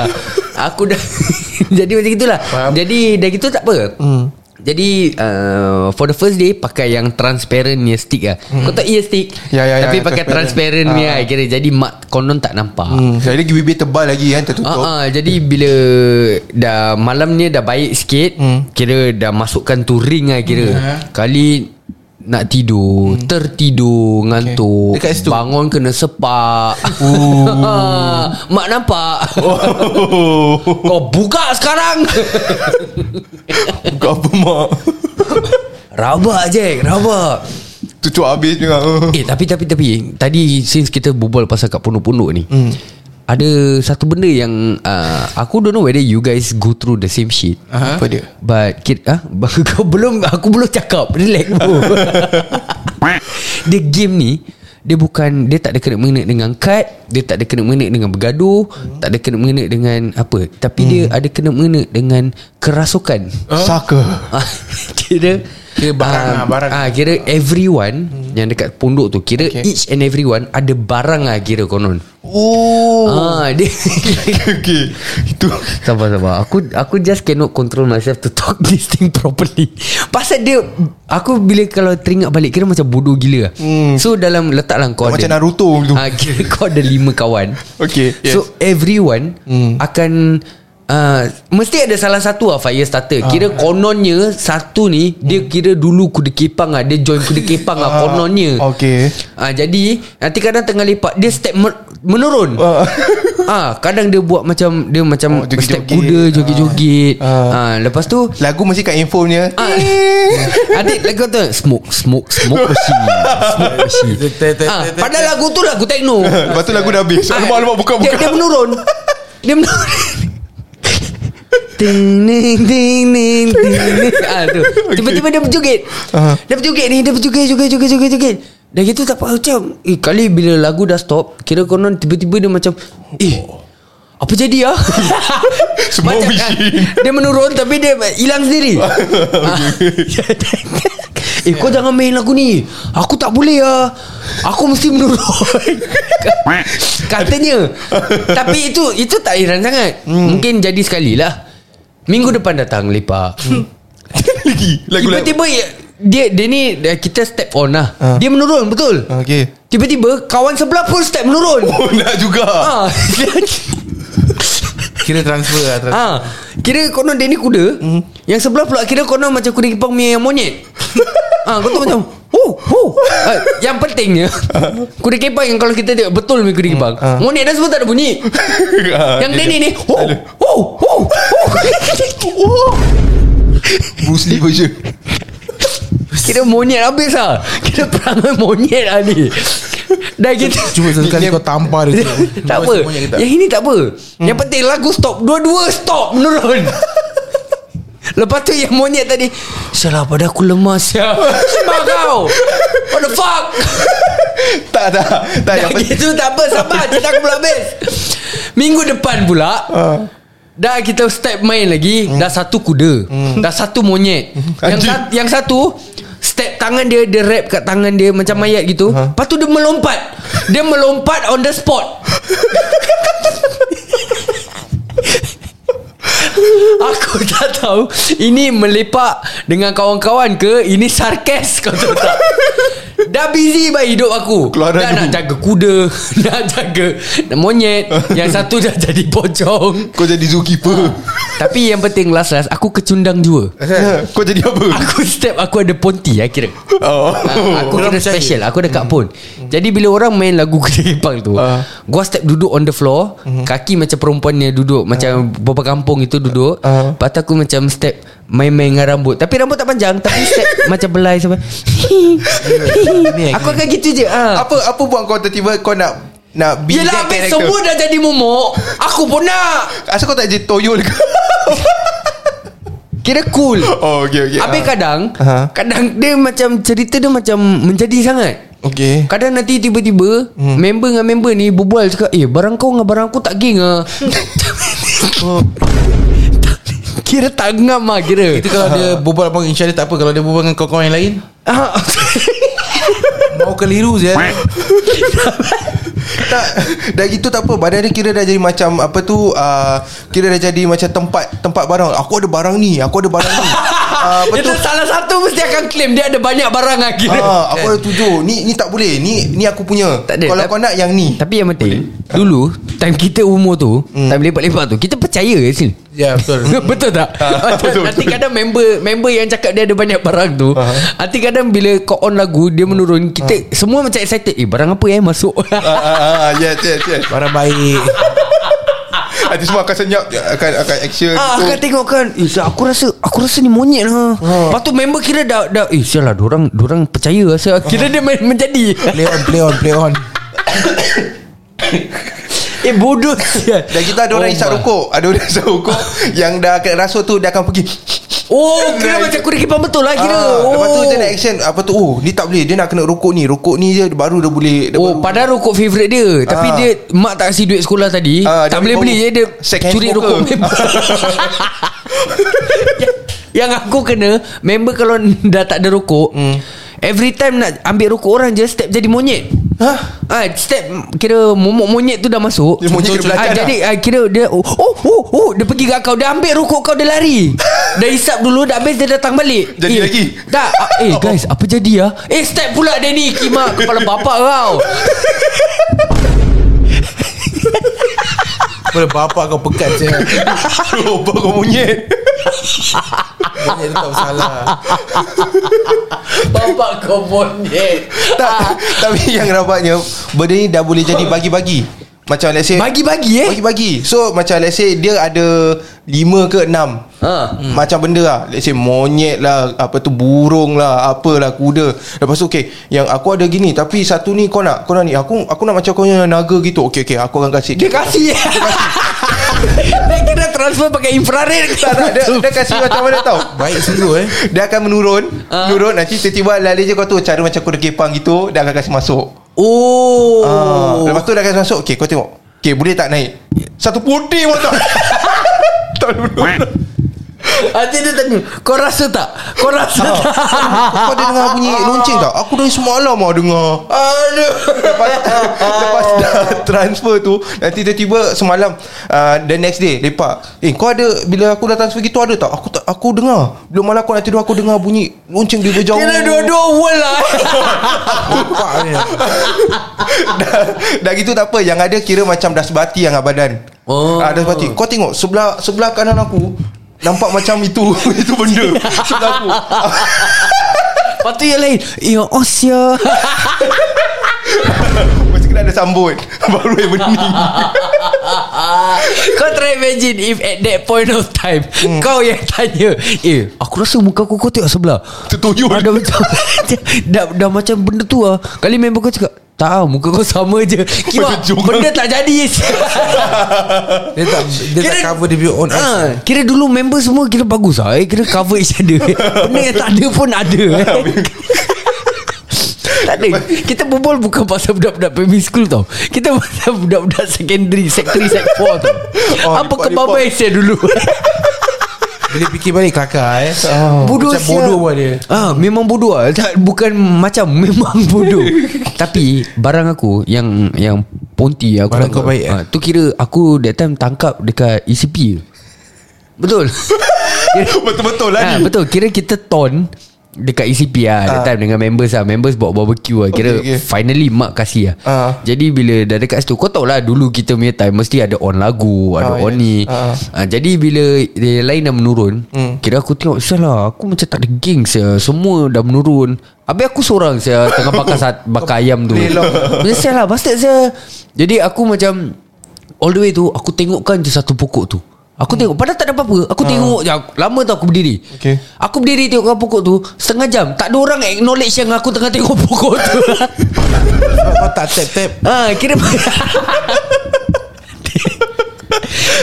C: aku dah jadi macam gitulah. Faham. Jadi dah gitu tak apa. Hmm. Jadi uh, for the first day pakai yang transparent ni stick lah. Hmm. Kau tak ear stick.
B: Ya, ya, ya,
C: tapi pakai
B: transparent.
C: transparent ni lah kira jadi mak konon tak nampak.
B: hmm. Jadi dia bibir tebal lagi kan
C: Ah,
B: Tertutup
C: ah, jadi bila dah malam ni dah baik sikit, hmm. kira dah masukkan tu ring lah kira. Hmm. Kali nak tidur, hmm. tertidur, ngantuk,
F: Dekat situ?
C: bangun kena sepak. Oh. Mak nampak. Oh. Kau buka sekarang. Ah.
B: Buka apa mak
C: rabak je, rabak.
B: Cucuk habis juga Oh.
C: Eh tapi tapi tapi Tadi since kita berbual pasal kat punduk-punduk ni hmm. Ada satu benda yang uh, Aku don't know whether you guys go through the same shit uh-huh.
B: Apa dia?
C: But kid, ah, Kau belum Aku belum cakap Relax bro Dia game ni dia bukan Dia tak ada kena mengena dengan kad Dia tak ada kena mengena dengan bergaduh Tak ada kena mengena dengan Apa Tapi dia ada kena mengena dengan Kerasukan
B: Saka
C: Ah, kira
F: Kira barang
C: ah,
F: lah, barang.
C: ah, Kira everyone Yang dekat pondok tu Kira okay. each and everyone Ada barang lah kira konon
B: Oh
C: Ah, dia
B: Okay Itu
C: Sabar sabar Aku aku just cannot control myself To talk this thing properly Pasal dia Aku bila kalau teringat balik Kira macam bodoh gila hmm. So dalam letaklah kau
B: Macam
C: ada-
B: Naruto tu
C: Ah, kira kau ada lima kawan
B: Okay, yes. Hmm.
C: So everyone mm. Akan uh, Mesti ada salah satu lah Fire
B: Ah.
C: starter Kira kononnya Satu ni Dia
B: Hmm.
C: kira dulu kuda kepang lah Dia join kuda kepang
B: Ah,
C: lah Kononnya
B: Okay
C: Ah jadi nanti kadang tengah lepak dia step mer- menurun.
B: Ah.
C: ah kadang dia buat macam dia macam
B: Oh,
C: oh,
B: joget-joget.
C: step kuda joget-joget.
B: Ah.
C: Ah. ah lepas tu
B: Lagu mesti kat info punya
C: ah,
B: Eh.
C: adik lagu tu smoke smoke smoke machine smoke machine. ah padahal lagu tu lagu techno.
B: Lepas tu lagu dah habis
C: Ah,
B: Alamak alamak buka
C: Dia, dia
B: buka
C: menurun. dia menurun. Ding ding ding ding ding. Ah tu. Tiba-tiba dia berjoget.
B: Ah.
C: Dia berjoget ni, dia berjoget joget joget joget joget. Dah gitu tak apa macam Eh kali bila lagu dah stop Kira konon tiba-tiba dia macam Eh Apa jadi ah
B: Semua machine.
C: Dia menurun Tapi dia hilang sendiri Ah. Eh kau jangan main lagu ni Aku tak boleh ah Aku mesti menurun Katanya Tapi itu Itu tak heran sangat hmm. Mungkin jadi sekali lah Minggu depan datang lepak
B: Hmm. lagi Lagu lagu
C: Tiba-tiba ia- Dia dia ni dia- Kita step on lah
B: Ah.
C: Dia menurun betul
B: Okay
C: Tiba-tiba Kawan sebelah pun step menurun
B: Oh nak juga
C: Ah,
F: Kira transfer lah transfer.
C: ah. Kira konon dia ni kuda Yang sebelah pula Kira konon macam kuda kipang punya yang monyet ah, Kau tu macam Oh, oh. Ah, yang pentingnya Kuda kipang yang kalau kita tengok Betul punya kuda kipang Monyet dah semua tak ada bunyi Hmm, ah. Yang dia ni ni Oh, oh, oh, oh.
B: Bruce Lee version
C: Kira monyet habis lah Kira perangai monyet lah ni Dah gitu
F: Cuba sekali kau tampar dia
C: Tak apa Yang ini tak apa
B: Hmm.
C: Yang penting lagu stop Dua-dua stop Menurun Lepas tu yang monyet tadi Salah pada aku lemas ya. Sebab kau What the fuck
B: Tak tak Tak
C: Dah
B: Ah, yang penting
C: gitu tak apa Sabar Cerita aku belum habis Minggu depan pula
B: Ah. Hmm.
C: Dah kita step main lagi Dah satu kuda Dah satu monyet yang,
B: Anjing.
C: sat, yang satu Step tangan dia Dia rap kat tangan dia
B: Ah.
C: Macam mayat gitu Lepas tu dia melompat Dia melompat on the spot Aku tak tahu Ini melepak Dengan kawan-kawan ke Ini sarkas Kau tahu tak Dah busy by hidup aku
B: Keluar
C: Dah
B: lagu.
C: nak jaga kuda Nak jaga Monyet Yang satu dah jadi pocong
B: Kau jadi zookeeper
C: Tapi yang penting last last Aku kecundang jua
B: Kau jadi apa
C: Aku step Aku ada ponti lah kira
B: Oh
C: Ah, Aku kira special Aku dekat pun Jadi bila orang main lagu Kuda Kepang tu
B: Ah.
C: Gua step duduk on the floor Kaki macam perempuan ni duduk Macam beberapa kampung itu duduk
B: Ah.
C: Lepas tu aku macam step Main-main dengan rambut Tapi rambut tak panjang Tapi step macam belai sampai Aku akan gitu je ah.
B: Apa apa buat kau tiba-tiba Kau nak Nak be
C: Yelah
B: that
C: habis
B: character?
C: semua dah jadi momok Aku pun nak
B: Asal kau tak jadi toyol ke
C: Kira cool
B: Oh okay okay
C: Habis kadang
B: Ah.
C: Kadang dia macam Cerita dia macam Menjadi sangat
B: Okay
C: Kadang nanti tiba-tiba hmm. Member dengan member ni Berbual cakap Eh barang kau dengan barang aku tak geng ah. Kira tak ngam lah kira
F: Itu kalau dia berbual abang InsyaAllah tak apa Kalau dia berbual dengan kawan-kawan yang lain
C: Ah,
F: Mau keliru je
B: tak dah gitu tak apa badan dia kira dah jadi macam apa tu uh, kira dah jadi macam tempat tempat barang aku ada barang ni aku ada barang ni uh, apa
C: Itu
B: tu
C: salah satu mesti akan claim Dia ada banyak barang lah kira
B: Ah, aku ada tujuh Ni ni tak boleh Ni ni aku punya
C: Tak ada.
B: Kalau
C: Tapi-
B: kau nak yang ni
C: Eh, Tapi yang penting Dulu Time kita umur tu Time lepak-lepak tu Kita percaya ke sini
F: Ya betul
C: Betul tak? Ah,
B: Ah, betul,
C: Nanti kadang member Member yang cakap dia ada banyak barang tu Nanti kadang bila kau on lagu Dia menurun Kita semua macam excited Eh barang apa eh masuk
B: Ah, ah, ah, Yes yes yes
F: Barang baik
B: Nanti semua akan senyap Akan akan action
C: Ah,
B: tu.
C: akan tengok kan Eh sial, aku rasa Aku rasa ni monyet lah
B: Ah.
C: Lepas tu member kira dah, dah Eh sial lah Diorang, diorang percaya lah sial. Kira dia main, menjadi
F: Play on play on play on
C: Eh bodoh sial.
B: Dan kita ada
C: Oh
B: orang isap
C: my.
B: rokok Ada orang isap rokok Yang dah kena rasuk tu Dia akan pergi
C: Oh kira macam aku dekipan betul lah kira
B: Ah,
C: oh.
B: Lepas tu dia nak action Apa tu Oh ni tak boleh Dia nak kena rokok ni Rokok ni je Baru dia boleh dia
C: Oh
B: baru-
C: padahal rokok favourite dia Tapi
B: Ah.
C: dia Mak tak kasi duit sekolah tadi
B: Ah,
C: Tak
B: dia
C: boleh
B: baru-
C: beli je Dia
B: second hand
C: curi
B: smoker.
C: rokok member Yang- Yang aku kena Member kalau dah tak ada rokok
B: Hmm.
C: Every time nak ambil rokok orang je Step jadi monyet
B: Hah?
C: Ah, step kira momok monyet tu dah masuk.
B: Dia monyet dia
C: ah,
B: belajar dah.
C: jadi ah, kira dia oh, oh oh oh dia pergi kat kau, dia ambil rokok kau dia lari. dia hisap dulu dah habis dia datang balik.
B: Jadi
C: eh,
B: lagi.
C: Tak, ah, eh guys, apa jadi ah? Eh step pula dia ni kimak kepala bapak kau.
F: Pada bapak kau pekat je
B: Bapak kau monyet
F: Banyak tetap salah
C: bapak kau bonek.
B: tak, Tapi yang nampaknya Benda ni dah boleh jadi bagi-bagi Macam let's say
C: Bagi-bagi eh.
B: Bagi-bagi So macam let's say Dia ada Lima ke enam
C: Ha.
B: hmm. Macam benda lah Let's say monyet lah Apa tu burung lah Apalah kuda Lepas tu okay Yang aku ada gini Tapi satu ni kau nak Kau nak ni Aku aku nak macam kau yang naga gitu Okay okay aku akan kasih
C: Dia kasih eh. Dia kira transfer pakai infrared
B: tak, tak, dia, dia kasih macam mana tau
F: Baik sungguh eh
B: Dia akan menurun uh. Menurun Nanti tiba-tiba lari je kau tu Cara macam kuda kepang gitu Dia akan kasih masuk
C: Oh
B: Ah, Lepas tu dia akan masuk Okay kau tengok Okay boleh tak naik Satu putih pun tak Tak boleh
C: Nanti dia tanya Kau rasa tak? Kau rasa tak?
B: Kau ada dengar
C: Ah,
B: bunyi lonceng tak? Aku dari semalam lah dengar Aduh Lepas, lepas dah transfer tu Nanti tiba-tiba semalam uh, The next day Lepak Eh kau ada Bila aku dah transfer gitu ada tak? Aku tak, aku dengar Belum malam aku nak tidur Aku dengar bunyi lonceng dia berjauh
C: Kira dua-dua world lah
F: Bapak ni
B: dah, dah gitu tak apa Yang ada kira macam dah sebati Yang badan
C: Oh.
B: ah, Dah sebati Kau tengok sebelah Sebelah kanan aku Nampak macam itu Itu benda Sebelah aku
C: Lepas tu yang lain Ya oh sia
B: Mesti kena ada sambut Baru yang bening
C: Kau try imagine If at that point of time Kau yang tanya Eh aku rasa muka aku kau tengok sebelah
B: Tertuyul.
C: ah, dah, macam, dah, dah macam benda tu lah Kali member kau cakap Tak ah, muka kau sama je Kira
B: Berjumpa.
C: benda tak jadi
F: Dia tak Dia tak cover dia punya own eyes
C: ha, Kira dulu member semua Kira bagus lah eh. Kira cover each other Benda yang tak ada pun ada eh. Tak ada Kita berbual bukan pasal budak-budak primary school tau Kita pasal budak-budak secondary Sec 3, sec 4 tau
B: Oh,
C: Apa
B: report,
C: kebabai saya dulu
F: Bila fikir balik kelakar eh
C: Bodoh
F: Macam bodoh pun dia
C: ah, Memang bodoh lah tak, Bukan macam Memang bodoh Tapi Barang aku Yang Yang Ponti aku
F: Barang
C: tangkap.
F: kau baik, eh?
C: ah, Tu kira Aku that time tangkap Dekat ECP Betul
B: Betul-betul lah
C: ha,
B: ni Ah.
C: Betul Kira kita ton Dekat ECP lah ha. That time dengan members lah Members buat barbecue lah Kira
B: Okay, okay.
C: okay, okay. finally Mak kasih lah
B: Ha.
C: Jadi bila dah dekat situ Kau tau lah Dulu kita punya time Mesti ada on lagu Ada
B: Ah,
C: on
B: yes.
C: ni
B: Ah. Hmm.
C: ha, Jadi bila Yang lain dah menurun Kira aku tengok Salah aku macam tak ada geng saya Semua dah menurun Habis aku seorang saya Tengah bakar, sat, bakar ayam tu Macam salah Bastard saya Jadi aku macam All the way tu Aku tengokkan je satu pokok tu Aku tengok Padahal tak ada apa-apa Aku tengok je Aku- Lama tau aku berdiri
B: Okay.
C: Aku berdiri tengok kat pokok tu Setengah jam Tak ada orang acknowledge Yang aku tengah tengok pokok tu
F: Sebab Kau tak tap-tap
C: ha, Kira